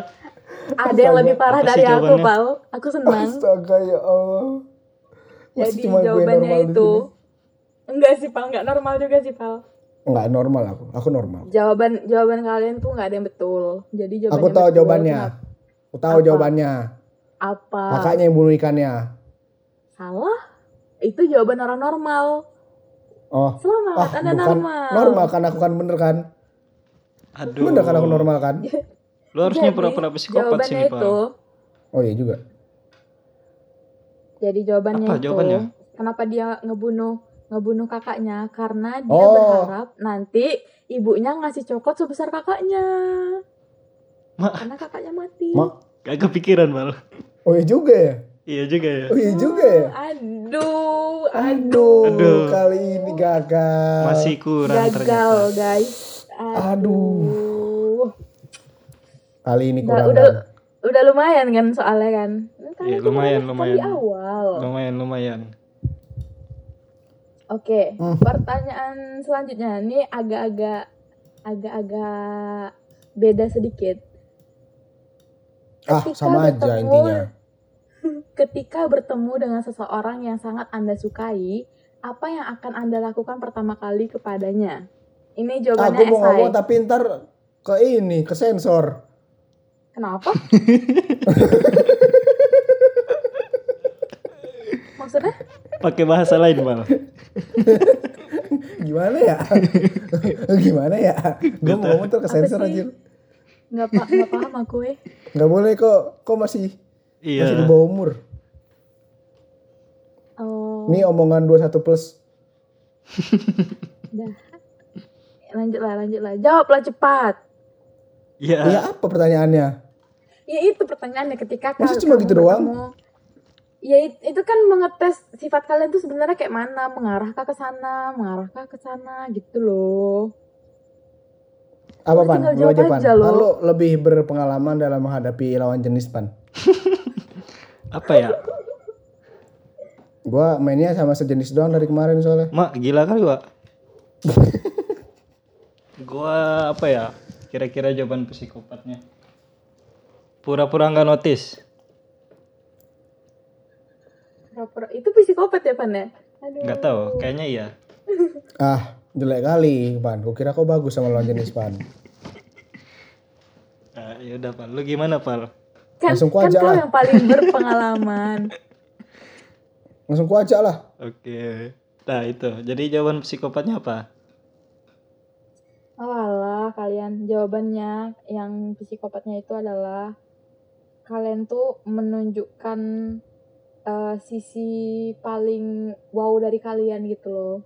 Speaker 1: Ada yang lebih parah
Speaker 3: Apa sih
Speaker 1: dari aku,
Speaker 3: jawabannya?
Speaker 1: Pal. Aku senang.
Speaker 4: Astaga ya Allah. Masa
Speaker 1: Jadi
Speaker 4: cuma gue normal di
Speaker 1: jawabannya itu
Speaker 4: sini?
Speaker 1: enggak sih Pal, enggak normal juga sih Pal.
Speaker 4: Nggak normal aku, aku normal.
Speaker 1: Jawaban jawaban kalian tuh enggak ada yang betul. Jadi jawabannya
Speaker 4: Aku tahu
Speaker 1: betul.
Speaker 4: jawabannya.
Speaker 1: Kenapa?
Speaker 4: Aku tahu
Speaker 1: Apa? Ah.
Speaker 4: jawabannya.
Speaker 1: Apa?
Speaker 4: Kakaknya yang bunuh ikannya.
Speaker 1: Salah. Itu jawaban orang normal.
Speaker 4: Oh,
Speaker 1: Selamat,
Speaker 4: ah
Speaker 1: Anda
Speaker 4: bukan
Speaker 1: normal.
Speaker 4: normal kan aku kan bener kan?
Speaker 3: aduh.
Speaker 4: Bener kan aku normal kan?
Speaker 3: Lu harusnya
Speaker 1: Jadi,
Speaker 3: pura-pura
Speaker 1: jawabannya
Speaker 3: psikopat sini,
Speaker 1: itu,
Speaker 3: Pak.
Speaker 4: Oh iya juga.
Speaker 1: Jadi jawabannya
Speaker 3: Apa
Speaker 1: itu.
Speaker 3: jawabannya?
Speaker 1: Kenapa dia ngebunuh ngebunuh kakaknya? Karena dia
Speaker 4: Oh.
Speaker 1: berharap nanti ibunya ngasih coklat sebesar kakaknya.
Speaker 3: Ma-
Speaker 1: Karena kakaknya mati.
Speaker 4: Ma-
Speaker 3: Gak kepikiran, Bal.
Speaker 4: Oh iya juga ya?
Speaker 3: Iya juga ya.
Speaker 4: Oh iya juga ya?
Speaker 1: Aduh, aduh.
Speaker 4: Aduh,
Speaker 3: Aduh.
Speaker 4: kali ini gagal.
Speaker 3: Masih kurang
Speaker 1: Gagal,
Speaker 3: ternyata.
Speaker 1: guys.
Speaker 4: Aduh. kali ini
Speaker 1: Udah,
Speaker 4: kurang.
Speaker 1: udah, udah lumayan kan soalnya kan? Kan
Speaker 3: Iya,
Speaker 1: itu
Speaker 3: lumayan,
Speaker 1: kan
Speaker 3: lumayan.
Speaker 1: Di awal.
Speaker 3: Lumayan, lumayan.
Speaker 1: Oke,
Speaker 4: Hmm.
Speaker 1: pertanyaan selanjutnya ini agak-agak agak-agak beda sedikit.
Speaker 4: Ah,
Speaker 1: Ketika
Speaker 4: sama aja
Speaker 1: bertemu-
Speaker 4: intinya.
Speaker 1: Ketika bertemu dengan seseorang yang sangat Anda sukai, apa yang akan Anda lakukan pertama kali kepadanya? Ini jawabannya
Speaker 4: Aku mau
Speaker 1: esai.
Speaker 4: ngomong tapi ntar ke ini, ke sensor.
Speaker 1: Kenapa? Maksudnya?
Speaker 3: Pakai bahasa lain malah.
Speaker 4: Gimana ya? Gimana ya? Gue mau ngomong ntar ke
Speaker 1: Apa
Speaker 4: sensor
Speaker 1: sih?
Speaker 4: anjir.
Speaker 1: Nggak, pa- nggak paham aku eh.
Speaker 4: Nggak boleh kok, kok masih masih di
Speaker 3: Iya.
Speaker 4: bawah umur.
Speaker 1: Oh,
Speaker 4: Ini omongan 21 plus.
Speaker 1: dah. Oh, Lanjutlah, lanjutlah. Jawablah cepat.
Speaker 3: Iya.
Speaker 4: Iya apa pertanyaannya?
Speaker 1: Ya itu pertanyaannya ketika
Speaker 4: Masa
Speaker 1: kal-
Speaker 4: cuma gitu doang?
Speaker 1: bertemu- Ya it- itu kan mengetes sifat kalian tuh sebenarnya kayak mana, mengarahkah ke sana, mengarahkah ke sana gitu loh.
Speaker 4: Apa
Speaker 1: Lu
Speaker 4: pan?
Speaker 1: tinggal
Speaker 4: Lu
Speaker 1: jawab
Speaker 4: aja pan.
Speaker 1: aja, lo.
Speaker 4: Kan lu lebih berpengalaman dalam menghadapi lawan jenis pan.
Speaker 3: Apa ya?
Speaker 4: Gua mainnya sama sejenis doang dari kemarin soalnya.
Speaker 3: Mak, gila kali, Pak. gua apa ya? Kira-kira jawaban psikopatnya. Pura-pura nggak notice.
Speaker 1: Pura-pura- Itu psikopat ya, Pan ya? Aduh.
Speaker 3: Nggak tahu, kayaknya iya.
Speaker 4: Ah, jelek kali pan. Gua kira kok bagus sama lawan jenis pan.
Speaker 3: Nah, ya udah, Pal. Lu gimana, Pal?
Speaker 1: Kan,
Speaker 4: Langsung ku
Speaker 1: kan
Speaker 4: ajak
Speaker 1: kau
Speaker 4: lah.
Speaker 1: yang paling berpengalaman.
Speaker 4: Langsung gua ajak lah.
Speaker 3: Oke. Nah, itu. Jadi jawaban psikopatnya apa?
Speaker 1: Alah, kalian jawabannya yang psikopatnya itu adalah kalian tuh menunjukkan eh, sisi paling wow dari kalian gitu loh.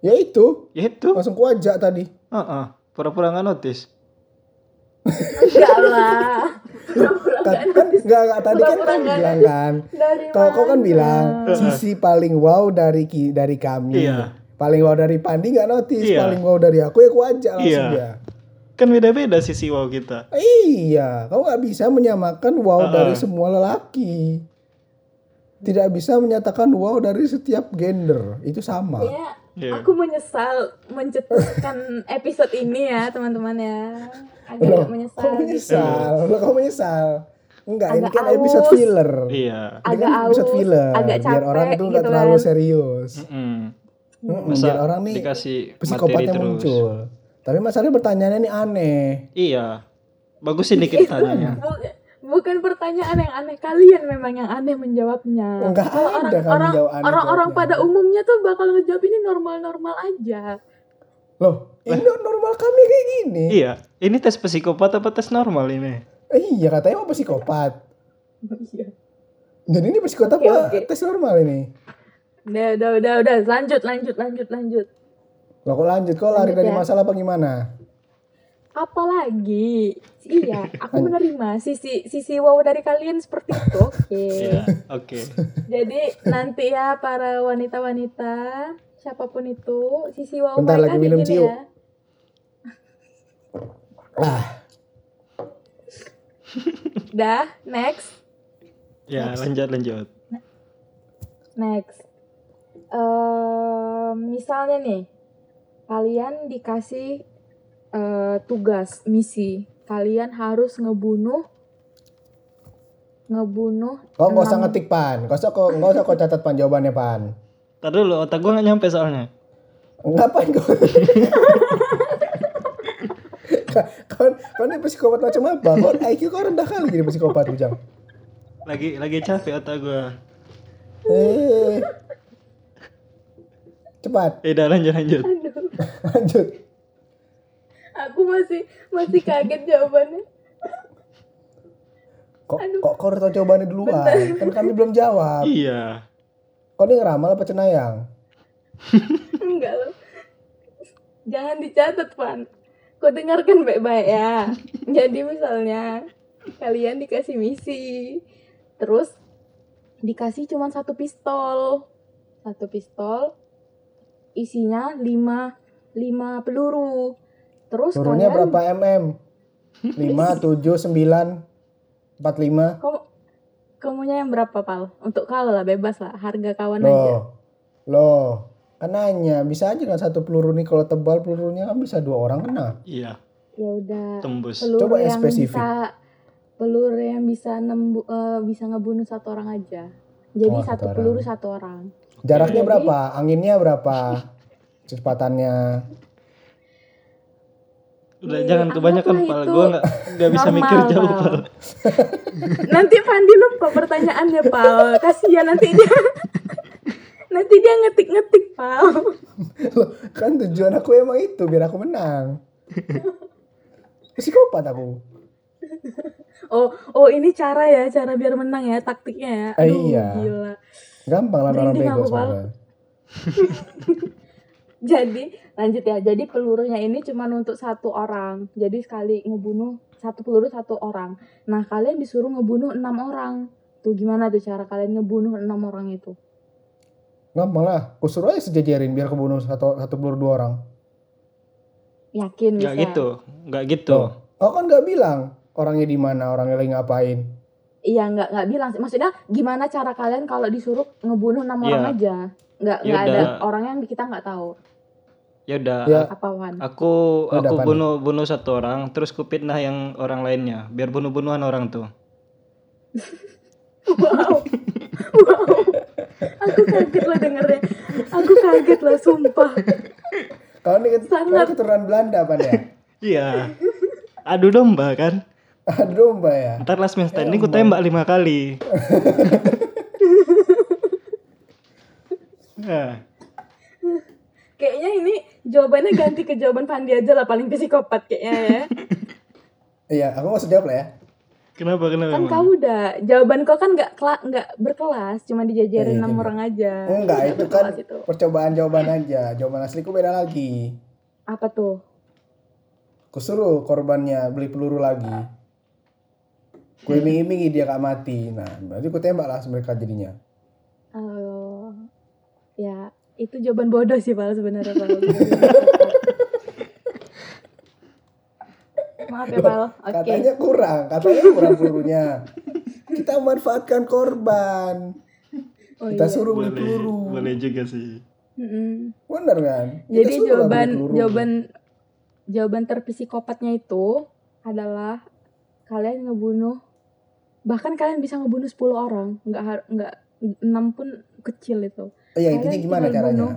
Speaker 4: Ya itu,
Speaker 3: Ya itu.
Speaker 4: langsung gua ajak tadi.
Speaker 3: Heeh. Pura-pura nggak notice.
Speaker 1: Enggak lah. Pura-pura
Speaker 4: Kan,
Speaker 1: nggak
Speaker 4: kan
Speaker 1: notice.
Speaker 4: enggak, enggak, tadi kan
Speaker 1: Pura-pura
Speaker 4: kan
Speaker 1: nggak
Speaker 4: bilang
Speaker 1: notice.
Speaker 4: kan.
Speaker 1: Dari
Speaker 4: Kau kau kan
Speaker 1: mana?
Speaker 4: bilang sisi paling wow dari ki, dari kami.
Speaker 3: Iya.
Speaker 4: Paling wow dari Pandi nggak notice,
Speaker 3: Iya.
Speaker 4: paling wow dari aku ya aku ajak langsung
Speaker 3: Iya.
Speaker 4: ya.
Speaker 3: Kan beda-beda sisi wow kita.
Speaker 4: Iya, kau nggak bisa menyamakan wow
Speaker 3: Uh-uh.
Speaker 4: dari semua lelaki. Tidak bisa menyatakan wow dari setiap gender, itu sama.
Speaker 1: Ya,
Speaker 3: Iya.
Speaker 1: aku menyesal mencetuskan episode ini ya, teman-teman ya.
Speaker 4: Loh,
Speaker 1: Agak menyesal.
Speaker 4: kau
Speaker 1: gitu.
Speaker 4: menyesal, Loh, kau menyesal. Enggak, ini
Speaker 1: Agak
Speaker 4: kan episode
Speaker 1: aus.
Speaker 4: filler.
Speaker 3: Iya.
Speaker 4: Ini
Speaker 1: Agak
Speaker 4: kan episode
Speaker 1: aus,
Speaker 4: filler,
Speaker 1: agak
Speaker 4: biar
Speaker 1: capek
Speaker 4: orang itu nggak
Speaker 1: gitu
Speaker 4: terlalu
Speaker 1: kan.
Speaker 4: serius.
Speaker 3: Mm-mm.
Speaker 1: gitu.
Speaker 4: Mm-mm,
Speaker 3: Masa
Speaker 4: biar orang nih
Speaker 3: dikasih materi
Speaker 4: psikopatnya
Speaker 3: terus.
Speaker 4: muncul. Tapi masalahnya pertanyaannya nih aneh.
Speaker 3: Iya. Bagusin dikit tanya.
Speaker 1: Bu- Bukan pertanyaan yang aneh kalian memang yang aneh menjawabnya.
Speaker 4: Enggak
Speaker 1: Kalau Hmm.
Speaker 4: ada
Speaker 1: orang-
Speaker 4: kan
Speaker 1: orang-
Speaker 4: jawabannya.
Speaker 1: Orang-orang pada umumnya tuh bakal ngejawab ini normal-normal aja.
Speaker 4: Loh, ini normal kami kayak gini.
Speaker 3: Iya, ini tes psikopat apa tes normal ini?
Speaker 4: Eh, iya, katanya mau psikopat.
Speaker 1: Iya.
Speaker 4: Dan ini psikopat
Speaker 1: Oke,
Speaker 4: apa
Speaker 1: oke.
Speaker 4: tes normal ini?
Speaker 1: Udah, udah, udah, udah. Lanjut, lanjut, lanjut, lanjut.
Speaker 4: Loh kok lanjut? Kok lari
Speaker 1: Lanjut
Speaker 4: dari
Speaker 1: ya.
Speaker 4: masalah apa gimana?
Speaker 1: Apalagi, iya, aku menerima sisi sisi wow dari kalian seperti itu. Oke.
Speaker 3: Iya, oke.
Speaker 1: Jadi nanti ya para wanita-wanita siapapun itu sisi wow
Speaker 4: Bentar,
Speaker 1: mereka
Speaker 4: lagi
Speaker 1: di
Speaker 4: minum
Speaker 1: sini
Speaker 4: ciu.
Speaker 1: ya.
Speaker 4: Ah,
Speaker 1: Dah, next.
Speaker 3: Ya, lanjut lanjut.
Speaker 1: Next. Ehm, misalnya nih, kalian dikasih eh, tugas, misi. Kalian harus ngebunuh ngebunuh
Speaker 4: kok nggak usah
Speaker 1: enam-
Speaker 4: ngetik pan, nggak usah kok nggak usah kok catat pan jawabannya pan.
Speaker 3: Tadi dulu otak gua nggak nyampe soalnya.
Speaker 4: Enggak pan kok. kau kau ini psikopat macam apa? Kau IQ kau rendah kali jadi psikopat bujang.
Speaker 3: Lagi lagi capek otak gua.
Speaker 4: Eh, cepat
Speaker 3: Eh, dah lanjut lanjut.
Speaker 1: Aduh,
Speaker 4: lanjut.
Speaker 1: aku masih masih kaget jawabannya.
Speaker 4: Kok kok kau udah tahu jawabannya duluan? Kan kami belum jawab.
Speaker 3: Iya.
Speaker 4: Kau ini ngeramal apa cenayang?
Speaker 1: Enggak loh. Jangan dicatat, Pan. Kau dengarkan baik-baik ya. Jadi misalnya kalian dikasih misi, terus dikasih cuma satu pistol. Satu pistol isinya lima lima peluru. Terus
Speaker 4: Turunnya
Speaker 1: kalian
Speaker 4: berapa mm? 5, 7, 9, 45
Speaker 1: Kamu kamunya yang berapa, Pal? Untuk kau lah bebas lah, harga kawan aja.
Speaker 4: Loh, loh, kan nanya bisa aja kan satu peluru nih kalau tebal pelurunya kan bisa dua orang kena.
Speaker 3: Iya,
Speaker 1: Ya udah.
Speaker 3: tembus.
Speaker 1: peluru
Speaker 4: Coba yang
Speaker 1: yang
Speaker 4: spesifik.
Speaker 1: bisa peluru yang bisa nembu, eh, bisa ngebunuh satu orang aja. Jadi
Speaker 4: Oh,
Speaker 1: satu
Speaker 4: satu
Speaker 1: peluru
Speaker 4: orang.
Speaker 1: satu orang. Jadi-
Speaker 4: Jaraknya berapa? Anginnya berapa? Kecepatannya.
Speaker 3: Udah
Speaker 1: Iya,
Speaker 3: jangan kebanyakan
Speaker 1: anggaplah
Speaker 3: pal,
Speaker 1: itu
Speaker 3: gue nggak nggak bisa mikir
Speaker 1: normal,
Speaker 3: jauh
Speaker 1: Pal.
Speaker 3: pal.
Speaker 1: Nanti Fandi lupa pertanyaannya, Pal. Kasihan nanti dia. nanti dia ngetik-ngetik, Pal.
Speaker 4: Loh, kan tujuan aku emang itu biar aku menang. Psikopat aku.
Speaker 1: Oh, oh ini cara ya, cara biar menang ya, taktiknya ya.
Speaker 4: Eh,
Speaker 1: Aduh,
Speaker 4: iya.
Speaker 1: Gila.
Speaker 4: Gampang lah orang
Speaker 1: Merinding
Speaker 4: bego
Speaker 1: aku, Pal.
Speaker 4: sebenarnya.
Speaker 1: Jadi lanjut ya. Jadi pelurunya ini cuma untuk satu orang. Jadi sekali ngebunuh satu peluru satu orang. Nah kalian disuruh ngebunuh enam orang. Tuh gimana tuh cara kalian ngebunuh enam orang itu?
Speaker 4: Gampang lah. Aku suruh aja sejajarin biar kebunuh satu satu peluru dua orang.
Speaker 1: Yakin bisa?
Speaker 3: Nggak gitu, nggak gitu.
Speaker 4: Tuh. Oh kan nggak bilang orangnya di mana, orangnya lagi ngapain.
Speaker 1: Iya nggak nggak bilang. sih. Maksudnya gimana cara kalian kalau disuruh ngebunuh enam
Speaker 3: Iya.
Speaker 1: orang aja? Nggak
Speaker 3: Ya
Speaker 1: nggak ada
Speaker 3: udah.
Speaker 1: orang yang kita nggak tahu
Speaker 3: Ya udah,
Speaker 4: Ya.
Speaker 3: Ah.
Speaker 1: apaan.
Speaker 3: aku
Speaker 4: Udah,
Speaker 3: aku
Speaker 4: Pan.
Speaker 3: bunuh bunuh satu orang, terus kupitnah yang orang lainnya, biar bunuh bunuhan orang tuh.
Speaker 1: Wow. Wow. Aku kaget loh dengernya. Aku kaget loh sumpah.
Speaker 4: Kalau ini ket-
Speaker 1: Sangat.
Speaker 4: kalau keturunan Belanda pan ya.
Speaker 3: Iya. Adu domba kan.
Speaker 4: Aduh mbak ya.
Speaker 3: Ntar last man standing ku
Speaker 4: Emang.
Speaker 3: tembak lima kali. Nah,
Speaker 1: Kayaknya ini jawabannya ganti ke jawaban Pandi aja lah paling psikopat kayaknya ya.
Speaker 4: Iya, aku nggak usah jawab lah ya.
Speaker 3: kenapa kenapa?
Speaker 1: kan
Speaker 3: emang?
Speaker 1: kau udah jawaban kau kan nggak kela- nggak berkelas, cuma dijajarin
Speaker 4: Eh,
Speaker 1: enam
Speaker 4: iya.
Speaker 1: orang aja.
Speaker 4: Enggak,
Speaker 1: Nggak
Speaker 4: itu kan
Speaker 1: berkelas itu.
Speaker 4: percobaan jawaban aja. Jawaban asliku beda lagi.
Speaker 1: Apa tuh?
Speaker 4: Aku suruh korbannya beli peluru lagi. Ku iming-imingi dia gak mati. Nah, berarti ku tembak lah mereka jadinya.
Speaker 1: Eh, ya itu jawaban bodoh sih Pak sebenarnya Pak. Maaf ya Pak. Oke.
Speaker 4: Katanya kurang, katanya kurang pelurunya. Kita manfaatkan korban.
Speaker 1: Oh,
Speaker 4: Kita
Speaker 1: iya.
Speaker 4: suruh beli
Speaker 3: Boleh,
Speaker 4: peluru.
Speaker 3: Boleh juga sih.
Speaker 1: Mm-mm.
Speaker 4: Bener kan? Kita
Speaker 1: Jadi
Speaker 4: suruh lah
Speaker 1: jawaban
Speaker 4: beli peluru.
Speaker 1: jawaban jawaban terpsikopatnya itu adalah kalian ngebunuh bahkan kalian bisa ngebunuh 10 orang, nggak har- nggak 6 pun kecil itu.
Speaker 4: Iya, intinya
Speaker 1: kalian
Speaker 4: gimana
Speaker 1: tinggal
Speaker 4: caranya?
Speaker 1: bunuh.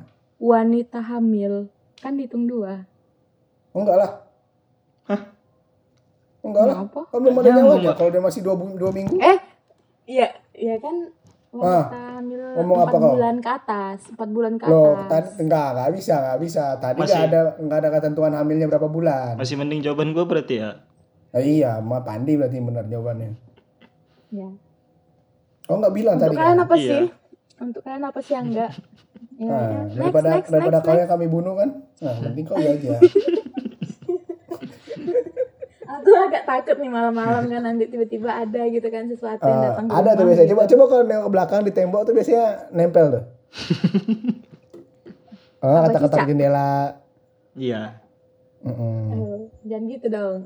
Speaker 1: Wanita hamil kan dihitung dua.
Speaker 4: Oh, Enggak lah. Enggak lah.
Speaker 1: Kenapa?
Speaker 4: Kan belum ada
Speaker 3: Jangan,
Speaker 4: nyawanya.
Speaker 3: Mbak.
Speaker 4: Kalau dia masih dua, bu- dua minggu,
Speaker 1: Eh, iya, iya kan wanita hamil
Speaker 4: Ah, ngomong apa
Speaker 1: 4
Speaker 4: kau?
Speaker 1: bulan ke atas, 4 bulan ke
Speaker 4: Loh,
Speaker 1: atas.
Speaker 4: tadi enggak, enggak bisa, enggak bisa. Tadi
Speaker 3: Masih.
Speaker 4: enggak ada enggak ada ketentuan hamilnya berapa bulan.
Speaker 3: Masih mending jawaban gue berarti ya.
Speaker 4: Nah, iya, Ma Pandi berarti benar jawabannya.
Speaker 1: Ya.
Speaker 4: Oh, enggak bilang
Speaker 1: Untuk
Speaker 4: Ah, tadi.
Speaker 1: kalian
Speaker 4: kan?
Speaker 1: apa
Speaker 3: Iya.
Speaker 1: sih? Untuk kalian apa sih yang enggak? Ya,
Speaker 4: Nah,
Speaker 1: ya. Next,
Speaker 4: daripada
Speaker 1: next,
Speaker 4: daripada
Speaker 1: next,
Speaker 4: kau
Speaker 1: next.
Speaker 4: yang kami bunuh kan. Nah, penting kau ya aja.
Speaker 1: Aku agak takut nih malam-malam kan nanti tiba-tiba ada gitu kan sesuatu yang
Speaker 4: Eh,
Speaker 1: datang. ke
Speaker 4: ada tuh
Speaker 1: rumah
Speaker 4: biasanya.
Speaker 1: gitu.
Speaker 4: Coba coba kalau nengok ke belakang di tembok tuh biasanya nempel tuh. Ah,
Speaker 1: Apa
Speaker 4: kata-kata
Speaker 1: cicak?
Speaker 4: jendela.
Speaker 3: Iya.
Speaker 4: Mm-mm.
Speaker 1: Eh, Jangan gitu dong.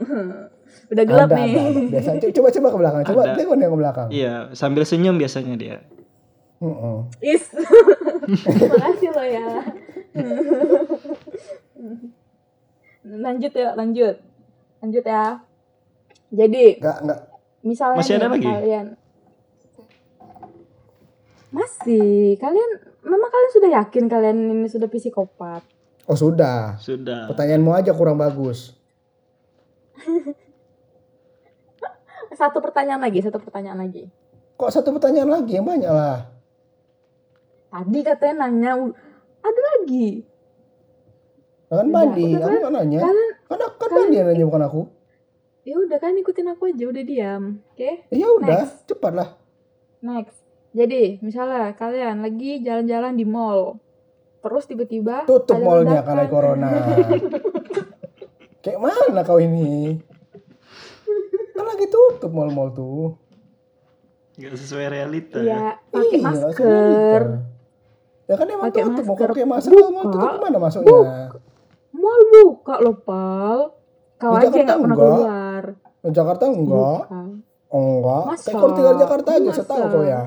Speaker 1: Udah gelap
Speaker 4: Ada,
Speaker 1: nih.
Speaker 4: ada, ada. Biasa. Co- Coba coba ke belakang. Coba
Speaker 3: Ada.
Speaker 4: tengok nengok ke belakang.
Speaker 3: Iya, sambil senyum biasanya dia.
Speaker 4: Mm-mm.
Speaker 1: Is. Makasih lo ya. lanjut ya, lanjut. Lanjut ya. Jadi,
Speaker 4: Enggak enggak.
Speaker 1: misalnya
Speaker 3: Masih ada
Speaker 1: nih,
Speaker 3: lagi?
Speaker 1: kalian masih kalian memang kalian sudah yakin kalian ini sudah psikopat
Speaker 4: Oh, sudah.
Speaker 3: Sudah.
Speaker 4: Pertanyaanmu aja kurang bagus.
Speaker 1: satu pertanyaan lagi satu pertanyaan lagi
Speaker 4: Kok satu pertanyaan lagi yang banyak lah.
Speaker 1: Tadi katanya nanya u- ada lagi.
Speaker 4: Nah, kan
Speaker 1: Udah,
Speaker 4: Pandi,
Speaker 1: udah,
Speaker 4: aku nggak nanya.
Speaker 1: Kalian
Speaker 4: Kan kan Pandi yang nanya bukan aku.
Speaker 1: ya udah kan ikutin aku aja udah diam. Oke,
Speaker 4: Ya udah,
Speaker 1: Next.
Speaker 4: cepatlah.
Speaker 1: next. Jadi, misalnya kalian lagi jalan-jalan di mall. Terus tiba-tiba
Speaker 4: Tutup
Speaker 1: ada ledakan.
Speaker 4: malnya kalau ada corona. Kayak mana kau ini? Kan lagi tutup mal-mal tuh.
Speaker 3: Gak sesuai realita. ya.
Speaker 1: Iya, pakai
Speaker 4: Iya,
Speaker 1: masker.
Speaker 4: langsung aja. Ya kan emang
Speaker 1: Pakai
Speaker 4: tutup, mau
Speaker 1: masker.
Speaker 4: pakai masker mau
Speaker 1: Buka.
Speaker 4: tutup gimana masuknya?
Speaker 1: Mall buka loh, Pal. Kau
Speaker 4: Di
Speaker 1: aja
Speaker 4: Jakarta
Speaker 1: nggak pernah
Speaker 4: enggak.
Speaker 1: keluar.
Speaker 4: Nah, Jakarta enggak,
Speaker 1: Buka.
Speaker 4: enggak.
Speaker 1: Masa?
Speaker 4: Kayak kau tinggal Jakarta aja,
Speaker 1: Masa?
Speaker 4: setahu kau ya.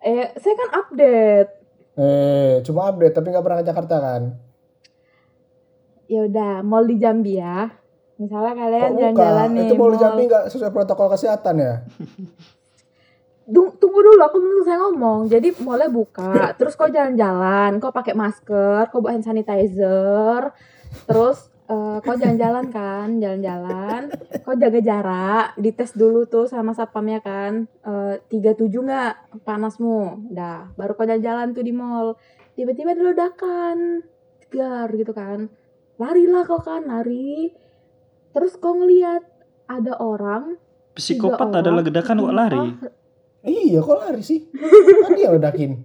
Speaker 1: Eh, saya kan update.
Speaker 4: Eh, cuma update tapi nggak pernah ke Jakarta kan?
Speaker 1: Ya udah, mall di Jambi ya. Misalnya
Speaker 4: Kok
Speaker 1: kalian
Speaker 4: muka?
Speaker 1: jalan-jalan nih.
Speaker 4: Itu bolu
Speaker 1: mall.
Speaker 4: jambi nggak sesuai protokol kesehatan ya?
Speaker 1: Dung- Tunggu dulu, aku belum selesai ngomong. Jadi mulai buka, terus kau jalan-jalan, kau pakai masker, kau bawa hand sanitizer, terus eh, kau jalan-jalan kan, jalan-jalan, kau jaga jarak, dites dulu tuh sama satpamnya kan, tiga tujuh nggak panasmu, dah, baru kau jalan-jalan tuh di mall, tiba-tiba ada ledakan, tegar gitu kan, larilah kau kan, lari, terus kau ngeliat ada orang tiga
Speaker 3: Psikopat ada
Speaker 1: orang,
Speaker 3: ledakan kok lari.
Speaker 1: sumpah,
Speaker 4: Iya, kok lari sih? Kan dia ledakin.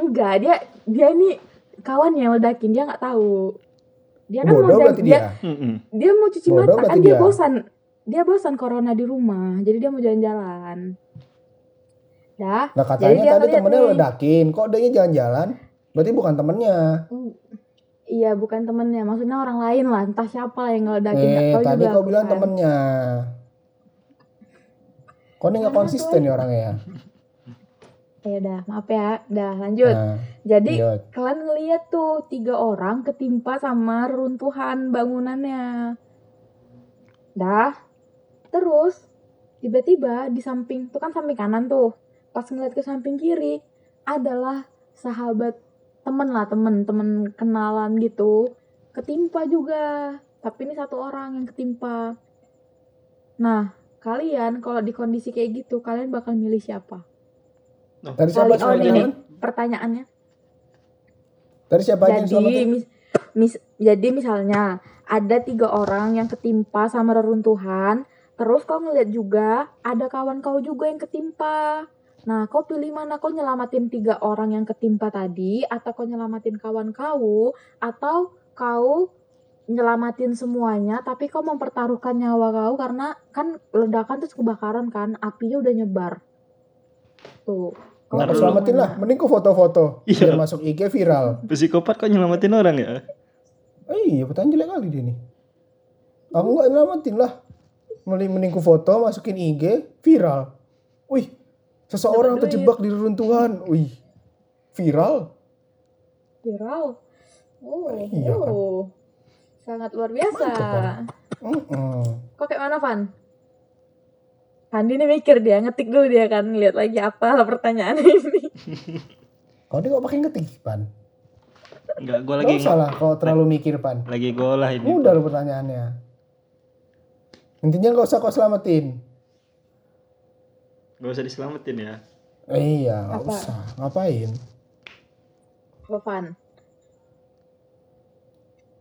Speaker 1: Enggak, dia dia ini kawan yang ledakin, dia nggak tahu. Dia kan
Speaker 4: Bodoh
Speaker 1: mau
Speaker 4: berarti
Speaker 1: jalan, dia,
Speaker 4: dia.
Speaker 3: Mm-mm.
Speaker 1: dia mau cuci
Speaker 4: Bodoh
Speaker 1: mata
Speaker 4: berarti
Speaker 1: kan dia
Speaker 4: dia.
Speaker 1: bosan. Dia bosan corona di rumah, jadi dia mau jalan-jalan. Ya, Dah,
Speaker 4: Nah
Speaker 1: Jadi dia
Speaker 4: katanya tadi
Speaker 1: ngeliat
Speaker 4: temennya
Speaker 1: nih.
Speaker 4: ledakin. Kok dia jalan-jalan? Berarti bukan temennya.
Speaker 1: iya bukan temennya, maksudnya orang lain lah, entah siapa lah yang ngeledakin. nggak
Speaker 4: Eh,
Speaker 1: tahu
Speaker 4: tadi
Speaker 1: juga
Speaker 4: kau bilang
Speaker 1: kan.
Speaker 4: temennya. Kok ini nggak
Speaker 1: Mana
Speaker 4: konsisten
Speaker 1: tuh?
Speaker 4: ya orangnya ya?
Speaker 1: Ya dah, maaf ya. Dah, lanjut.
Speaker 4: Nah,
Speaker 1: jadi
Speaker 4: lanjut.
Speaker 1: kalian ngeliat tuh tiga orang ketimpa sama runtuhan bangunannya. Dah, terus tiba-tiba di samping tuh kan samping kanan tuh, pas ngeliat ke samping kiri adalah sahabat temen lah temen temen kenalan gitu ketimpa juga tapi ini satu orang yang ketimpa nah kalian kalau di kondisi kayak gitu kalian bakal milih siapa
Speaker 4: Tadi
Speaker 1: Kali-
Speaker 4: siapa
Speaker 1: oh,
Speaker 4: suruh
Speaker 1: ini.
Speaker 4: jalan?
Speaker 1: pertanyaannya
Speaker 4: Tadi siapa aja yang ya?
Speaker 1: jadi
Speaker 4: selamatin?
Speaker 1: mis- mis- jadi misalnya ada tiga orang yang ketimpa sama reruntuhan terus kau ngeliat juga ada kawan kau juga yang ketimpa nah kau pilih mana kau nyelamatin tiga orang yang ketimpa tadi atau kau nyelamatin kawan kau atau kau nyelamatin semuanya tapi kau mempertaruhkan nyawa kau karena kan ledakan terus kebakaran kan apinya udah nyebar tuh Kau pilih
Speaker 3: Ntar dulu.
Speaker 4: Nggak kau Nah, selamatin lah.
Speaker 1: mana?
Speaker 4: Mending kau foto-foto.
Speaker 3: Iya.
Speaker 4: Biar masuk IG viral.
Speaker 3: Psikopat kok nyelamatin orang ya?
Speaker 4: Eh, iya, pertanyaan jelek kali dia nih. Kamu nggak nyelamatin lah. Mending, mending ku foto, masukin IG, viral. Wih, seseorang
Speaker 1: Dapat duit.
Speaker 4: terjebak di reruntuhan. Wih, viral.
Speaker 1: Viral. Oh,
Speaker 4: Iya, kan?
Speaker 1: oh. sangat luar biasa.
Speaker 4: Mantap, kan? Mm-mm.
Speaker 1: Kok kayak mana Van? Andi ini mikir dia, ngetik dulu dia kan, lihat lagi apa pertanyaan ini.
Speaker 4: Kau ini kok pakai ngetik, Pan?
Speaker 3: Enggak, gua
Speaker 4: Lagi
Speaker 3: lagi
Speaker 4: usah lah kau terlalu mikir, Pan.
Speaker 3: lagi golah ini.
Speaker 4: Mudah lo pertanyaannya. Intinya gak usah kau selamatin.
Speaker 3: Gak usah diselamatin ya.
Speaker 4: Eh, iya,
Speaker 1: Apa?
Speaker 4: gak usah. Ngapain?
Speaker 1: Apa Van?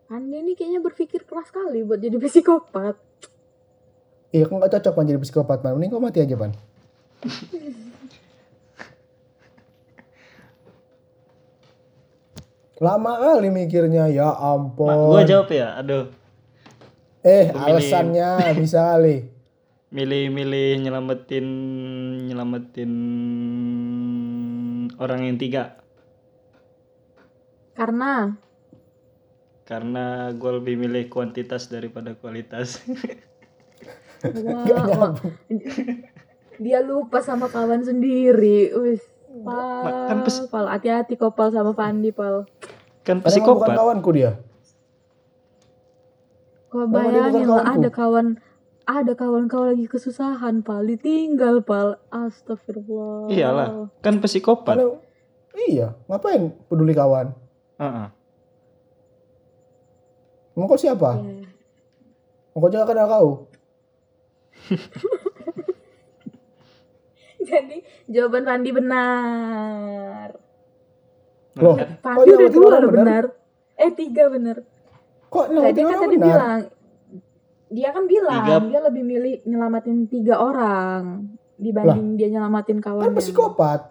Speaker 1: Andi ini kayaknya berpikir keras kali buat jadi psikopat.
Speaker 4: Iya, kau gak cocok, Pan, jadi psikopat, Pan. Mending kau mati aja, Pan. Lama kali mikirnya, ya ampun.
Speaker 3: Ma, gua jawab ya. Aduh,
Speaker 4: eh,
Speaker 3: Gua milih.
Speaker 4: alasannya bisa kali.
Speaker 3: milih-milih nyelamatin nyelamatin orang yang tiga
Speaker 1: Karena
Speaker 3: karena gua lebih milih kuantitas daripada kualitas.
Speaker 1: wah,
Speaker 4: Gak
Speaker 1: wah,
Speaker 4: nyambung.
Speaker 1: dia lupa sama kawan sendiri. Wis, pal,
Speaker 3: kan pes-
Speaker 1: pal, hati-hati kok pal sama Pandi pal.
Speaker 3: kan
Speaker 4: Padahal kau bukan
Speaker 3: psikopat.
Speaker 4: kawanku dia.
Speaker 1: Kau
Speaker 4: Emang dia
Speaker 1: bayangin
Speaker 4: bukan
Speaker 1: lah
Speaker 4: kawanku?
Speaker 1: ada kawan ada kawan kau lagi kesusahan pal ditinggal pal astagfirullah
Speaker 3: Iyalah, kan psikopat.
Speaker 4: Padahal- iya, ngapain peduli kawan?
Speaker 3: Heeh.
Speaker 4: Emang kau siapa?
Speaker 1: Ya. Iya.
Speaker 4: Emang kau juga kenal kau?
Speaker 1: jadi jawaban Pandi benar
Speaker 4: Loh,
Speaker 3: Kan-
Speaker 1: Pandi
Speaker 4: yang
Speaker 1: udah
Speaker 4: berarti
Speaker 1: dua
Speaker 4: iya, orang
Speaker 1: benar.
Speaker 4: benar?
Speaker 1: eh tiga benar
Speaker 4: Kok
Speaker 1: tadi
Speaker 4: nyelamatin
Speaker 1: kan
Speaker 4: orang
Speaker 1: tadi
Speaker 4: benar?
Speaker 1: bilang dia kan bilang
Speaker 3: Tiga.
Speaker 1: dia lebih milih nyelamatin tiga orang dibanding dia nyelamatin
Speaker 4: Kan
Speaker 1: kawannya
Speaker 4: psikopat.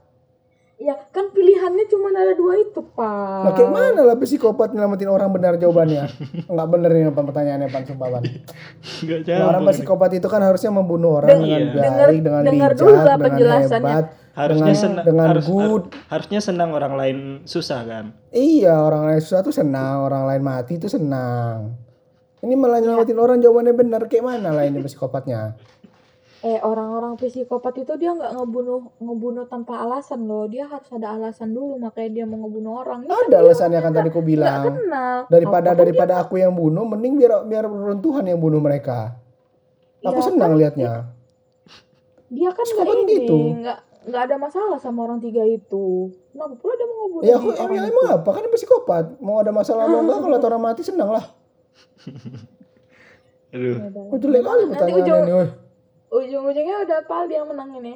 Speaker 1: ya kan pilihannya cuma ada dua itu pal
Speaker 4: Nah, kayak mana lah psikopat nyelamatin orang benar jawabannya? Enggak bener ini Pan, pertanyaannya Pan sumpah Pan.
Speaker 3: Enggak
Speaker 4: Nah, orang
Speaker 3: nyambung.
Speaker 4: psikopat itu kan harusnya membunuh orang
Speaker 1: Deng-
Speaker 4: dengan
Speaker 3: Iya.
Speaker 4: baik,
Speaker 1: Dengar-
Speaker 4: dengan
Speaker 1: dengar
Speaker 4: bijak,
Speaker 1: dulu lah
Speaker 4: dengan
Speaker 1: penjelasannya.
Speaker 4: hebat,
Speaker 3: Harusnya
Speaker 4: dengan,
Speaker 3: senang
Speaker 4: dengan
Speaker 3: harus,
Speaker 4: good.
Speaker 3: har- harusnya senang orang lain susah kan.
Speaker 4: Iya, orang lain susah tuh senang, orang lain mati itu
Speaker 1: Iya.
Speaker 4: senang. Ini malah nyelamatin orang jawabannya benar, kayak mana lah ini psikopatnya?
Speaker 1: eh orang-orang psikopat itu dia nggak ngebunuh ngebunuh tanpa alasan loh dia harus ada alasan dulu makanya dia mau ngebunuh orang Ini kan
Speaker 4: Ada
Speaker 1: dia
Speaker 4: alasannya kan
Speaker 1: nggak-
Speaker 4: tadi aku
Speaker 1: nggak
Speaker 4: bilang.
Speaker 1: kenal
Speaker 4: Daripada
Speaker 1: Apa kan
Speaker 4: daripada aku yang bunuh, mending biar biar runtuhan yang bunuh mereka.
Speaker 1: dia-
Speaker 4: Aku
Speaker 1: ya
Speaker 4: senang
Speaker 1: kan,
Speaker 4: liatnya.
Speaker 1: dia kan nggak
Speaker 4: Psikopat
Speaker 1: ini
Speaker 4: gitu.
Speaker 1: nggak nggak ada masalah sama orang tiga itu kenapa pula dia mau ngebunuh
Speaker 4: Ya aku
Speaker 1: orang
Speaker 4: emang,
Speaker 1: itu?
Speaker 4: emang apa? Kan dia psikopat. Mau ada masalah atau enggak kalau liat orang mati senang lah.
Speaker 3: Aduh.
Speaker 1: Ya udah.
Speaker 4: Oh, jelek kali
Speaker 1: Nanti
Speaker 4: pertanyaannya
Speaker 1: ujung-
Speaker 4: nih. weh.
Speaker 1: ujung-ujungnya udah pal dia menang ini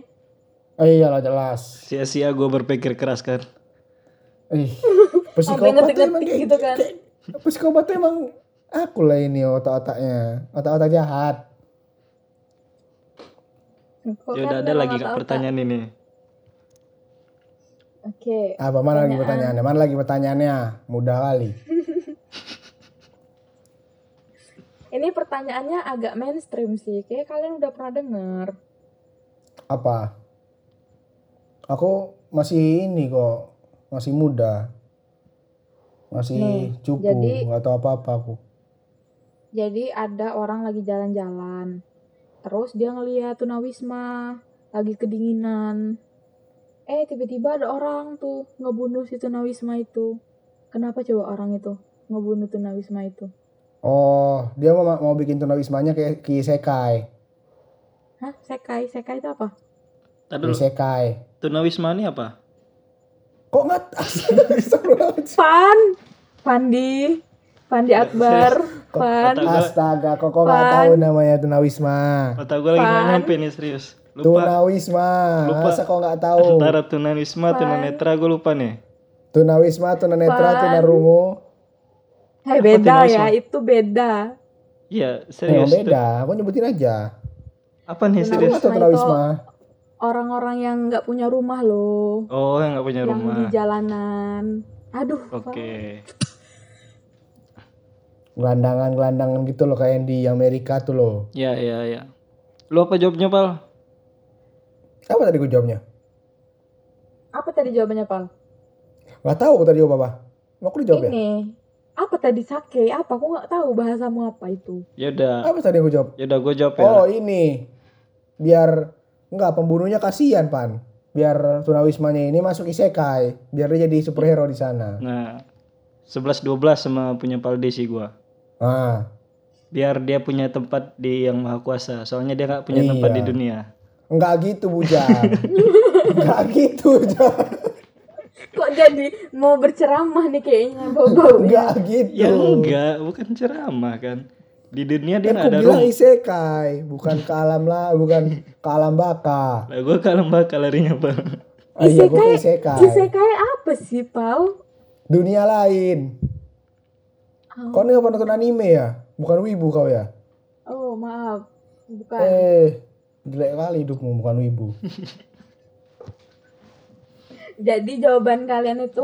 Speaker 4: Eh, iyalah jelas.
Speaker 3: Sia-sia gue berpikir keras kan.
Speaker 4: Ih,
Speaker 1: Sampai
Speaker 4: psikopat tuh emang
Speaker 1: ngetik-ngetik
Speaker 4: kayak
Speaker 1: gitu kan.
Speaker 4: kayak- Psikopat tuh emang aku lah ini otak-otaknya, otak-otak jahat.
Speaker 1: Kok
Speaker 3: Ya
Speaker 1: kan
Speaker 3: udah ada
Speaker 1: memang
Speaker 3: lagi
Speaker 1: otak-otak.
Speaker 3: Kak, pertanyaan ini.
Speaker 1: oke
Speaker 4: Apa mana lagi
Speaker 1: Pertanyaan.
Speaker 4: pertanyaannya? Mana lagi pertanyaannya? Mudah kali.
Speaker 1: ini pertanyaannya agak mainstream sih kayak kalian udah pernah dengar
Speaker 4: Apa? Aku masih ini kok, masih muda. Masih
Speaker 1: Nih,
Speaker 4: cupu,
Speaker 1: Hmm, jadi-
Speaker 4: nggak tahu apa-apa aku.
Speaker 1: Jadi ada orang lagi jalan-jalan. Terus dia ngeliat tunawisma lagi kedinginan. Eh tiba-tiba ada orang tuh ngebunuh si tunawisma itu. Kenapa coba orang itu ngebunuh tunawisma itu?
Speaker 4: Oh, dia mau mau bikin tunawismanya kayak kisekai.
Speaker 1: Hah? Sekai, sekai itu apa?
Speaker 3: Tadi dulu,
Speaker 4: Kisekai.
Speaker 3: tunawisma ini apa?
Speaker 4: Kok nggak? Seru banget sih.
Speaker 1: Pan, Pandi, Pandi
Speaker 3: Iya,
Speaker 1: Akbar,
Speaker 4: Kok-
Speaker 1: Pan.
Speaker 3: Otak-
Speaker 4: Astaga, kok kok nggak
Speaker 1: Pan.
Speaker 4: tahu namanya tunawisma?
Speaker 3: Otak gue lagi nggak
Speaker 1: Pan.
Speaker 3: nyampe nih serius. Lupa.
Speaker 4: Tunawisma,
Speaker 3: Lupa.
Speaker 4: masa kok nggak tahu?
Speaker 3: Antara tunawisma,
Speaker 1: Pan.
Speaker 3: tunanetra gue lupa nih.
Speaker 4: Tunawisma, tunanetra,
Speaker 1: Pan.
Speaker 4: tunarungu,
Speaker 1: Eh
Speaker 3: Apa
Speaker 1: beda ya,
Speaker 3: tunawisma?
Speaker 1: itu beda.
Speaker 3: Iya
Speaker 4: yang
Speaker 3: serius.
Speaker 4: Ya, beda. Aku nyebutin aja.
Speaker 3: Apa
Speaker 1: Tunawisma.
Speaker 3: nih
Speaker 4: Aku
Speaker 3: serius?
Speaker 4: nggak tahu tunawisma.
Speaker 1: Orang-orang yang nggak punya rumah loh,
Speaker 3: Oh yang nggak punya
Speaker 1: yang di
Speaker 3: rumah.
Speaker 1: jalanan. Aduh.
Speaker 3: Oke.
Speaker 4: Gelandangan-gelandangan gitu loh kayak yang di Amerika tuh loh.
Speaker 3: Ya ya ya. Lu apa jawabnya pal?
Speaker 4: Apa tadi gue jawabnya?
Speaker 1: Apa tadi jawabannya, Pal?
Speaker 4: Nggak tahu aku tadi jawab apa. Mau aku dijawab ya?
Speaker 1: ini apa tadi sake apa aku nggak tahu bahasamu apa itu
Speaker 3: Ya udah.
Speaker 4: Apa tadi yang gue jawab?
Speaker 3: Ya udah gue jawab ya.
Speaker 4: Oh ini, biar nggak pembunuhnya kasihan pan. Biar tunawismanya ini masuk isekai, biar dia jadi superhero di sana.
Speaker 3: Nah 11-12 sama punya Paldi sih gue.
Speaker 4: Ah,
Speaker 3: Biar dia punya tempat di yang maha kuasa. Soalnya dia nggak punya tempat
Speaker 4: Iya.
Speaker 3: di dunia.
Speaker 4: nggak gitu bujang, nggak gitu bujang.
Speaker 1: kok jadi mau berceramah nih kayaknya bau
Speaker 4: Enggak gitu.
Speaker 3: Ya enggak, bukan ceramah kan. Di dunia dia
Speaker 4: Kan
Speaker 3: nggak
Speaker 4: aku
Speaker 3: ada
Speaker 4: bilang
Speaker 3: rumah.
Speaker 4: isekai, bukan ke alam lah, bukan ke alam baka.
Speaker 3: Lah gue kalau bakal larinya apa?
Speaker 4: Ah, iya, gua ke
Speaker 1: Isekai-
Speaker 4: isekai.
Speaker 1: isekai apa sih pau
Speaker 4: Dunia lain.
Speaker 1: oh,
Speaker 4: Kau nih nggak pernah nonton anime ya? Bukan wibu kau ya?
Speaker 1: oh, maaf bukan
Speaker 4: Eh, jelek kali hidupmu bukan wibu.
Speaker 1: jadi jawaban kalian itu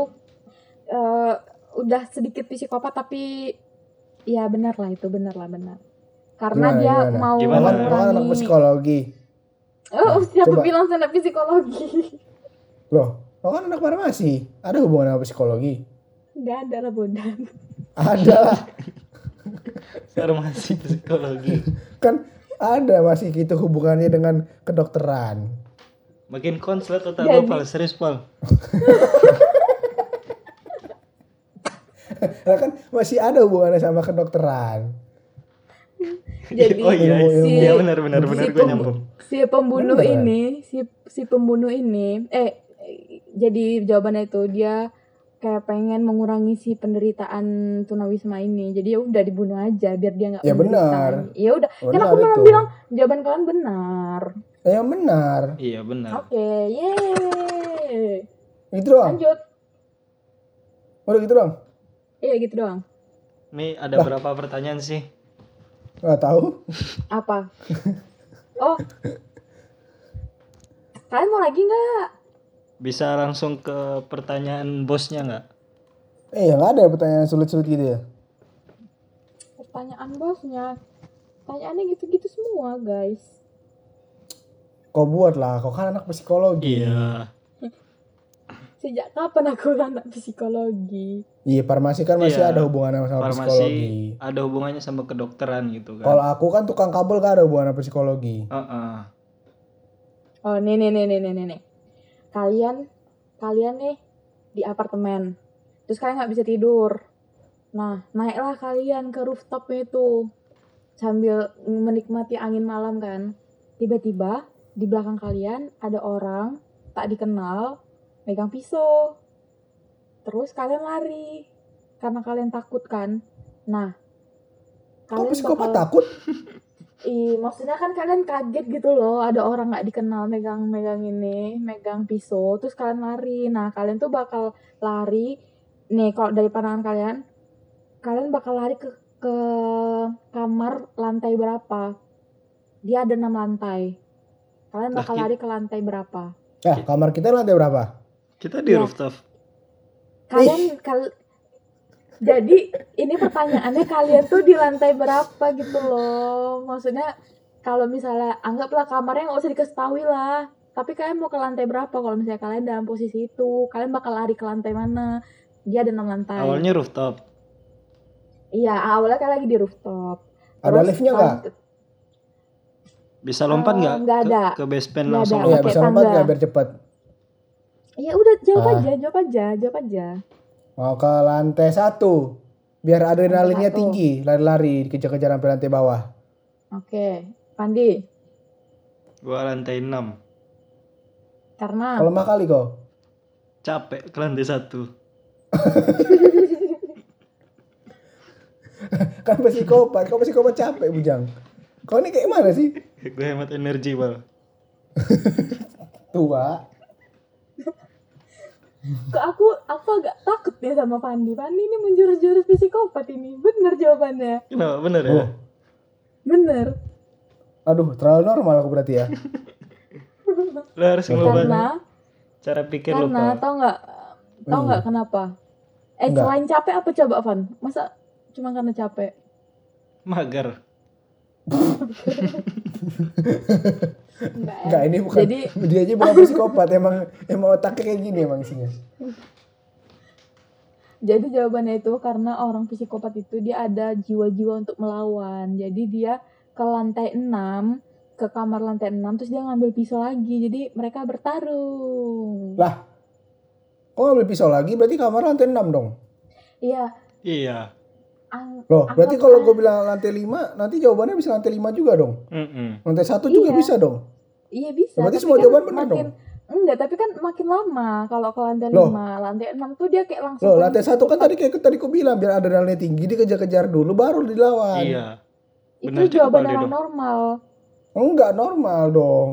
Speaker 1: eh, udah sedikit psikopat tapi ya benar lah itu benar lah benar karena
Speaker 4: Gimana,
Speaker 1: dia
Speaker 4: gimana?
Speaker 1: mau
Speaker 3: Gimana?
Speaker 4: Kau kan, kau kan anak
Speaker 1: mengurangi
Speaker 4: psikologi.
Speaker 1: oh siapa
Speaker 4: Coba.
Speaker 1: bilang sana psikologi
Speaker 4: Loh, kau kan anak farmasi. Ada hubungan sama psikologi?
Speaker 1: nggak ada lah bodan
Speaker 4: Ada lah.
Speaker 3: Farmasi psikologi.
Speaker 4: kan ada masih gitu hubungannya dengan kedokteran.
Speaker 3: Makin konslet otak gue
Speaker 1: Jadi-
Speaker 3: pal, serius pal.
Speaker 4: Lah kan masih ada hubungannya sama kedokteran.
Speaker 1: jadi
Speaker 3: oh iya,
Speaker 4: ilmu-
Speaker 1: si-
Speaker 3: iya benar benar benar
Speaker 1: si
Speaker 3: gue
Speaker 1: pem-
Speaker 3: nyambung.
Speaker 1: si pembunuh
Speaker 4: Bener.
Speaker 1: ini si si pembunuh ini eh jadi jawabannya itu dia kayak pengen mengurangi si penderitaan tunawisma ini jadi ya udah dibunuh aja biar dia nggak
Speaker 4: Ya,
Speaker 1: menderita
Speaker 4: benar.
Speaker 1: lagi. ya udah kan
Speaker 4: Benar
Speaker 1: aku memang
Speaker 4: itu.
Speaker 1: bilang jawaban kalian benar
Speaker 4: Ya benar.
Speaker 3: Iya benar.
Speaker 1: oke yeay
Speaker 4: Gitu doang.
Speaker 1: lanjut
Speaker 4: Udah gitu doang.
Speaker 1: iya gitu doang
Speaker 3: Nih ada berapa pertanyaan sih?
Speaker 4: Gak tahu.
Speaker 1: apa oh kalian mau lagi nggak
Speaker 3: Bisa langsung ke pertanyaan bosnya nggak?
Speaker 4: Eh, ya nggak ada ya pertanyaan sulit-sulit gitu ya.
Speaker 1: pertanyaan bosnya pertanyaannya gitu-gitu semua guys
Speaker 4: Kau buat lah, kau kan anak psikologi.
Speaker 3: Iya.
Speaker 1: Sejak kapan aku anak psikologi?
Speaker 4: Iya, farmasi kan masih
Speaker 3: Iya.
Speaker 4: ada hubungannya sama psikologi.
Speaker 3: Farmasi ada hubungannya sama kedokteran gitu kan?
Speaker 4: Kalau aku kan tukang kabel gak ada hubungan sama psikologi.
Speaker 3: Heeh.
Speaker 1: Oh, nih nih nih nih nih nih, nih. Kalian kalian nih di apartemen. Terus kalian nggak bisa tidur. Nah, naiklah kalian ke rooftop itu sambil menikmati angin malam kan. Tiba-tiba di belakang kalian ada orang tak dikenal megang pisau. Terus kalian lari karena kalian takut kan. Nah,
Speaker 4: Kok psikopat
Speaker 1: bakal-
Speaker 4: takut?
Speaker 1: Ih, maksudnya kan kalian kaget gitu loh, ada orang nggak dikenal megang-megang ini, megang pisau, terus kalian lari. Nah, kalian tuh bakal lari, nih kalau dari pandangan kalian, kalian bakal lari ke ke kamar lantai berapa? Dia ada enam lantai. Kalian
Speaker 3: Lah,
Speaker 1: bakal
Speaker 3: ki-
Speaker 1: lari ke lantai berapa?
Speaker 4: Nah,
Speaker 3: Iya.
Speaker 4: kamar kita lantai berapa?
Speaker 3: Kita di
Speaker 1: Iya.
Speaker 3: rooftop.
Speaker 1: Kalian kal- jadi ini pertanyaannya kalian tuh di lantai berapa gitu loh? Maksudnya kalau misalnya anggaplah kamarnya nggak usah diketahui lah. Tapi kalian mau ke lantai berapa kalau misalnya kalian dalam posisi itu? Kalian bakal lari ke lantai mana? Dia ada enam lantai.
Speaker 3: Awalnya rooftop.
Speaker 1: Iya, awalnya kalian lagi di rooftop.
Speaker 4: Ada
Speaker 1: Terus
Speaker 4: liftnya
Speaker 1: kalian-
Speaker 4: nggak?
Speaker 3: Bisa lompat
Speaker 1: Eh,
Speaker 3: nggak?
Speaker 1: nggak
Speaker 3: ke-
Speaker 1: ada.
Speaker 3: Ke, basement
Speaker 1: Nggak
Speaker 3: langsung
Speaker 1: ada.
Speaker 4: Iya,
Speaker 1: pakai
Speaker 4: bisa lompat
Speaker 1: tangga.
Speaker 4: nggak biar cepat?
Speaker 1: Iya udah jawab
Speaker 4: Ah.
Speaker 1: aja, jawab aja, jawab aja.
Speaker 4: Mau Oh, ke lantai satu, biar adrenalinnya
Speaker 1: satu.
Speaker 4: tinggi, lari-lari, dikejar-kejar sampai lantai bawah.
Speaker 1: Oke, Pandi,
Speaker 3: Gua lantai 6.
Speaker 1: karena Ah.
Speaker 4: Kalau mah kali kok.
Speaker 3: Capek ke lantai 1.
Speaker 4: Kan psikopat, kau psikopat capek bujang. Kau ini kayak mana sih?
Speaker 3: Gue hemat energi, Bal.
Speaker 4: Tua.
Speaker 1: ke aku aku agak takut deh sama Pandi. Pandi ini menjurus-jurus psikopat ini. Bener jawabannya.
Speaker 3: Kenapa? Bener ya?
Speaker 4: Oh,
Speaker 1: Bener.
Speaker 4: aduh, terlalu normal aku berarti ya.
Speaker 3: Lo harus ngelupain
Speaker 1: karena
Speaker 3: cara pikir lo,
Speaker 1: karena
Speaker 3: Bal.
Speaker 1: tau nggak tau
Speaker 4: Hmm.
Speaker 1: nggak kenapa? Eh
Speaker 4: Nggak.
Speaker 1: selain capek apa coba Van? Masa cuma karena capek?
Speaker 3: Mager.
Speaker 1: Enggak. ya?
Speaker 4: Enggak, ini bukan.
Speaker 1: Jadi
Speaker 4: Dia aja bukan psikopat, emang emang otaknya kayak gini emang isinya.
Speaker 1: jadi jawabannya itu karena orang psikopat itu dia ada jiwa-jiwa untuk melawan. Jadi dia ke lantai 6 ke kamar lantai 6 terus dia ngambil pisau lagi. Jadi mereka bertarung.
Speaker 4: Lah. Kok ngambil pisau lagi? Berarti kamar lantai 6 dong.
Speaker 1: Iya,
Speaker 3: Iya.
Speaker 1: ang-
Speaker 4: Loh,
Speaker 1: Anggap
Speaker 4: berarti
Speaker 1: aja.
Speaker 4: kalau gue bilang lantai 5, nanti jawabannya bisa lantai 5 juga dong.
Speaker 3: Mm-mm.
Speaker 4: Lantai 1 juga
Speaker 1: Iya.
Speaker 4: bisa dong.
Speaker 1: iya bisa.
Speaker 4: Berarti
Speaker 1: tapi
Speaker 4: semua
Speaker 1: kan
Speaker 4: jawaban benar
Speaker 1: makin-
Speaker 4: dong.
Speaker 1: Enggak, tapi kan makin lama kalau ke lantai
Speaker 4: Loh.
Speaker 1: 5, lantai 6 tuh dia kayak langsung
Speaker 4: Loh, lantai satu kan tadi kayak tadi ku bilang biar adrenalinnya tinggi dikejar-kejar dulu baru dilawan.
Speaker 3: Iya.
Speaker 1: itu
Speaker 3: benar juga,
Speaker 1: jawaban
Speaker 3: Pak
Speaker 1: orang
Speaker 3: Dedo.
Speaker 1: normal.
Speaker 4: Enggak normal dong.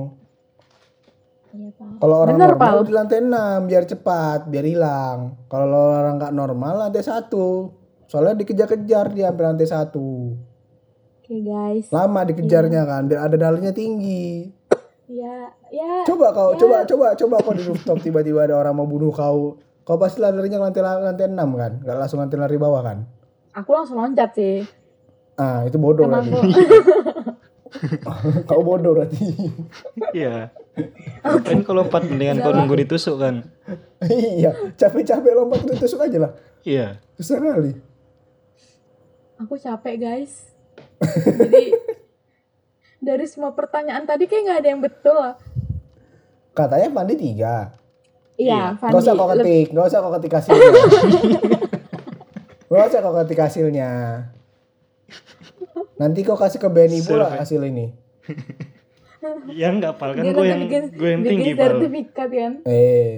Speaker 1: Iya, Pak.
Speaker 4: Kalau orang
Speaker 1: Bener,
Speaker 4: normal
Speaker 1: Pal.
Speaker 4: di lantai 6 biar cepat, biar hilang. Kalau orang nggak normal lantai satu. Soalnya dikejar-kejar dia sampai lantai satu.
Speaker 1: Oke, guys.
Speaker 4: Lama dikejarnya
Speaker 1: Iya.
Speaker 4: kan biar adrenalinnya tinggi.
Speaker 1: Ya, ya.
Speaker 4: Coba
Speaker 1: Ya.
Speaker 4: kau coba coba coba kau di rooftop tiba-tiba ada orang mau bunuh kau. Kau pasti larinya ke lantai lantai 6 kan? Enggak langsung lantai lari bawah kan?
Speaker 1: Aku langsung loncat sih.
Speaker 4: Ah, itu bodoh
Speaker 1: Karena
Speaker 4: berarti.
Speaker 1: aku
Speaker 4: kau bodoh berarti.
Speaker 3: Iya. Kan kalau lompat mendingan kau nunggu ditusuk kan.
Speaker 4: iya, capek-capek lompat itu tusuk aja lah.
Speaker 3: Iya.
Speaker 4: Susah kali.
Speaker 1: aku capek, guys. Jadi dari semua pertanyaan tadi kayak nggak ada yang betul.
Speaker 4: Katanya Pandi tiga.
Speaker 1: Iya, Fandi.
Speaker 4: Gak usah kau
Speaker 1: lebih-
Speaker 4: ketik, gak usah kau ketik hasilnya. gak usah kau ketik hasilnya. Nanti kau kasih ke Benny pula
Speaker 3: Survei.
Speaker 4: hasil ini.
Speaker 3: Yang nggak pal kan
Speaker 1: dia
Speaker 3: gue
Speaker 1: nanti
Speaker 3: yang
Speaker 1: bikin-
Speaker 3: gue yang
Speaker 1: bikin
Speaker 3: tinggi pal.
Speaker 1: sertifikat kan.
Speaker 4: Eh,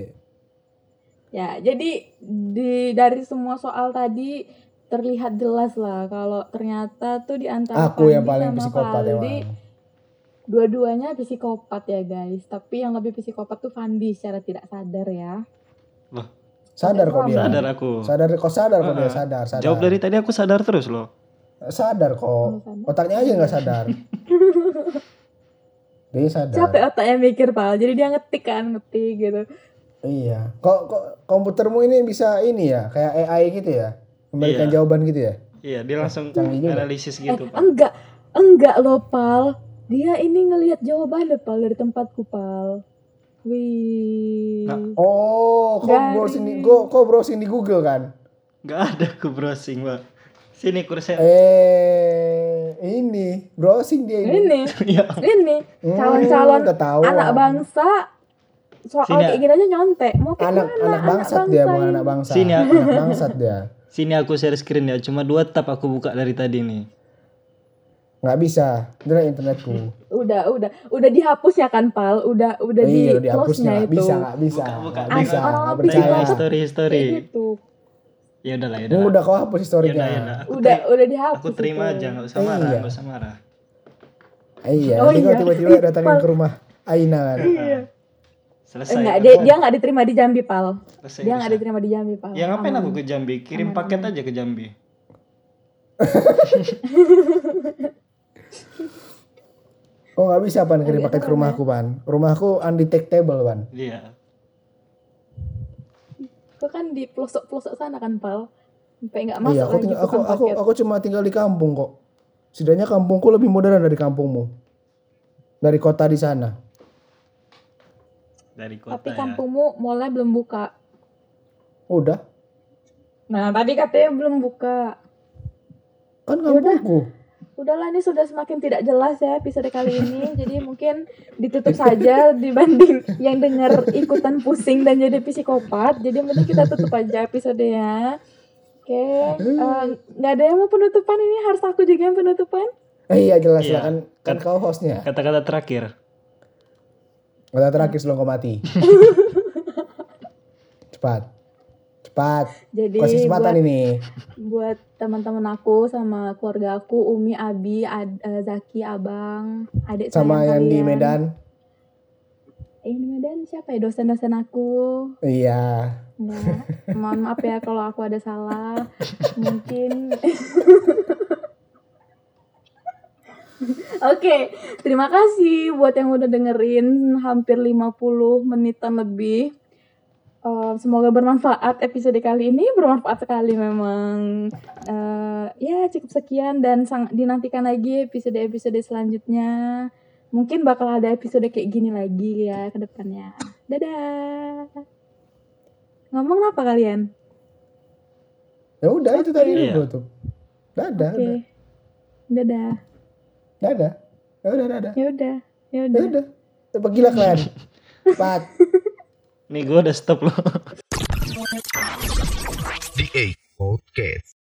Speaker 1: Ya, jadi di dari semua soal tadi terlihat jelas lah kalau ternyata tuh di antara
Speaker 4: aku yang
Speaker 1: Pandi
Speaker 4: paling
Speaker 1: sama
Speaker 4: psikopat
Speaker 1: Valdi,
Speaker 4: emang.
Speaker 1: Dua-duanya psikopat ya guys, tapi yang lebih psikopat tuh Fandi secara tidak sadar ya.
Speaker 4: Sadar kok dia.
Speaker 3: Sadar aku.
Speaker 4: Sadar kok sadar kok dia
Speaker 3: Ah,
Speaker 4: sadar, sadar. Eh,
Speaker 3: Jawab dari tadi aku sadar terus loh.
Speaker 4: sadar kok. Oh, Otaknya aja nggak sadar. dia sadar.
Speaker 1: Capek otaknya mikir, Pal. Jadi dia ngetik kan, ngetik gitu.
Speaker 4: Iya. Kok kok komputermu ini bisa ini ya, kayak AI gitu ya? Memberikan
Speaker 3: Iya.
Speaker 4: jawaban gitu ya?
Speaker 3: Iya, dia langsung
Speaker 4: Canggih juga.
Speaker 3: analisis gitu,
Speaker 1: eh,
Speaker 3: Pak.
Speaker 1: enggak. Enggak loh, Pal. Dia ini ngelihat jawabannya, Pal, dari tempatku, Pal. Wih.
Speaker 3: Nah.
Speaker 4: Oh, kok
Speaker 1: Dari-
Speaker 4: browsing di kok, kok browsing di Google kan?
Speaker 3: Gak ada aku browsing, Pak. Sini kursi.
Speaker 4: Eh, ini browsing dia Oh,
Speaker 1: ini
Speaker 4: ini.
Speaker 3: Iya.
Speaker 1: ini
Speaker 4: Hmm,
Speaker 1: calon-calon
Speaker 4: udah tahu.
Speaker 1: anak bangsa soal
Speaker 3: Sini,
Speaker 1: kayak gini aja nyontek mau ke
Speaker 4: Anak
Speaker 1: mana
Speaker 4: anak bangsat dia, bukan
Speaker 1: ini?
Speaker 4: anak bangsa.
Speaker 3: Sini, ya. aku-
Speaker 4: anak bangsat dia.
Speaker 3: Sini aku share screen ya. Cuma dua tab aku buka dari tadi nih.
Speaker 4: Nggak bisa. Jelek internetku.
Speaker 1: udah udah udah dihapus ya kan pal udah udah di
Speaker 4: Iya, udah
Speaker 1: close
Speaker 4: dihapusnya. Nggak
Speaker 1: itu
Speaker 4: bisa, nggak bisa.
Speaker 3: Buka, buka.
Speaker 4: Nggak bisa.
Speaker 1: Orang
Speaker 4: nggak
Speaker 1: lebih
Speaker 4: percaya.
Speaker 1: Iya.
Speaker 3: History history.
Speaker 1: Kayak gitu
Speaker 3: Ya udahlah, ya
Speaker 4: Ini
Speaker 3: udahlah.
Speaker 4: udah kau hapus
Speaker 3: Ya udah,
Speaker 4: historinya.
Speaker 3: ya udah. Aku
Speaker 1: udah
Speaker 3: teri-
Speaker 1: udah dihapus
Speaker 3: Aku terima
Speaker 1: itu.
Speaker 3: aja, nggak usah
Speaker 4: Iya.
Speaker 3: marah, nggak usah marah.
Speaker 4: Iya,
Speaker 1: Oh,
Speaker 4: nanti kau
Speaker 1: iya.
Speaker 4: tiba-tiba datangin ke rumah Aina kan.
Speaker 1: Iya.
Speaker 3: Selesai.
Speaker 1: enggak
Speaker 3: udah.
Speaker 1: dia dia nggak diterima di Jambi pal
Speaker 3: Selesai,
Speaker 1: dia nggak
Speaker 3: selesai.
Speaker 1: diterima di Jambi pal
Speaker 3: Ya ngapain
Speaker 1: Aman.
Speaker 3: aku ke Jambi? Kirim
Speaker 1: Aman,
Speaker 3: paket aja ke Jambi.
Speaker 4: Oh nggak bisa pan kirim
Speaker 1: Agak
Speaker 4: paket ke
Speaker 1: serem,
Speaker 4: rumahku
Speaker 1: ya.
Speaker 4: pan. Rumahku undetectable pan.
Speaker 3: Iya.
Speaker 1: itu kan di pelosok pelosok sana kan pal sampai nggak masuk
Speaker 4: Iya aku
Speaker 1: lagi
Speaker 4: tinggal,
Speaker 1: tuh
Speaker 4: aku
Speaker 1: kan
Speaker 4: aku
Speaker 1: paket.
Speaker 4: aku cuma tinggal di kampung kok. Setidaknya kampungku lebih modern dari kampungmu. Dari kota di sana.
Speaker 3: Dari kota
Speaker 1: tapi
Speaker 3: ya.
Speaker 1: kampungmu mulai belum buka
Speaker 4: Udah
Speaker 1: nah tadi katanya belum buka
Speaker 4: kan
Speaker 1: Yaudah.
Speaker 4: kampungku.
Speaker 1: Udahlah ini sudah semakin tidak jelas ya episode kali ini. Jadi mungkin ditutup saja dibanding yang dengar ikutan pusing dan jadi psikopat. Jadi mending kita tutup aja episodenya. Oke, eh, nggak ada yang mau penutupan ini harus aku juga yang penutupan.
Speaker 4: Eh, iya jelas
Speaker 3: Iya.
Speaker 4: lah kan, kan
Speaker 3: Kan-
Speaker 4: kau hostnya.
Speaker 3: Kata-kata terakhir.
Speaker 4: Kata terakhir sebelum kau mati. Cepat. Cepat.
Speaker 1: Jadi buat,
Speaker 4: Kasih kesempatan ini.
Speaker 1: buat teman-teman aku sama keluarga aku, Umi, Abi, Ad- eh, Zaki, Abang, adik
Speaker 4: Sama
Speaker 1: saya
Speaker 4: yang di Medan.
Speaker 1: Eh, di Medan siapa ya dosen-dosen aku?
Speaker 4: Iya.
Speaker 1: Nah, mohon maaf ya kalau aku ada salah. Mungkin. Oke, terima kasih buat yang udah dengerin hampir 50 menitan lebih. Eh, semoga bermanfaat episode kali ini, bermanfaat sekali memang. Eh, ya, cukup sekian dan sangat dinantikan lagi episode-episode selanjutnya. Mungkin bakal ada episode kayak gini lagi ya ke depannya. Dadah. Ngomong apa kalian?
Speaker 4: Ya udah itu tadi
Speaker 3: Iya.
Speaker 4: dulu tuh. Dadah,
Speaker 1: Oke. Dadah.
Speaker 4: dadah. Ya udah, dadah.
Speaker 1: Ya udah. Ya
Speaker 4: Ya
Speaker 1: udah.
Speaker 4: udah. Ya, Pergilah kalian. Cepat.
Speaker 3: Nih gue udah stop loh.
Speaker 2: The Eight Podcast.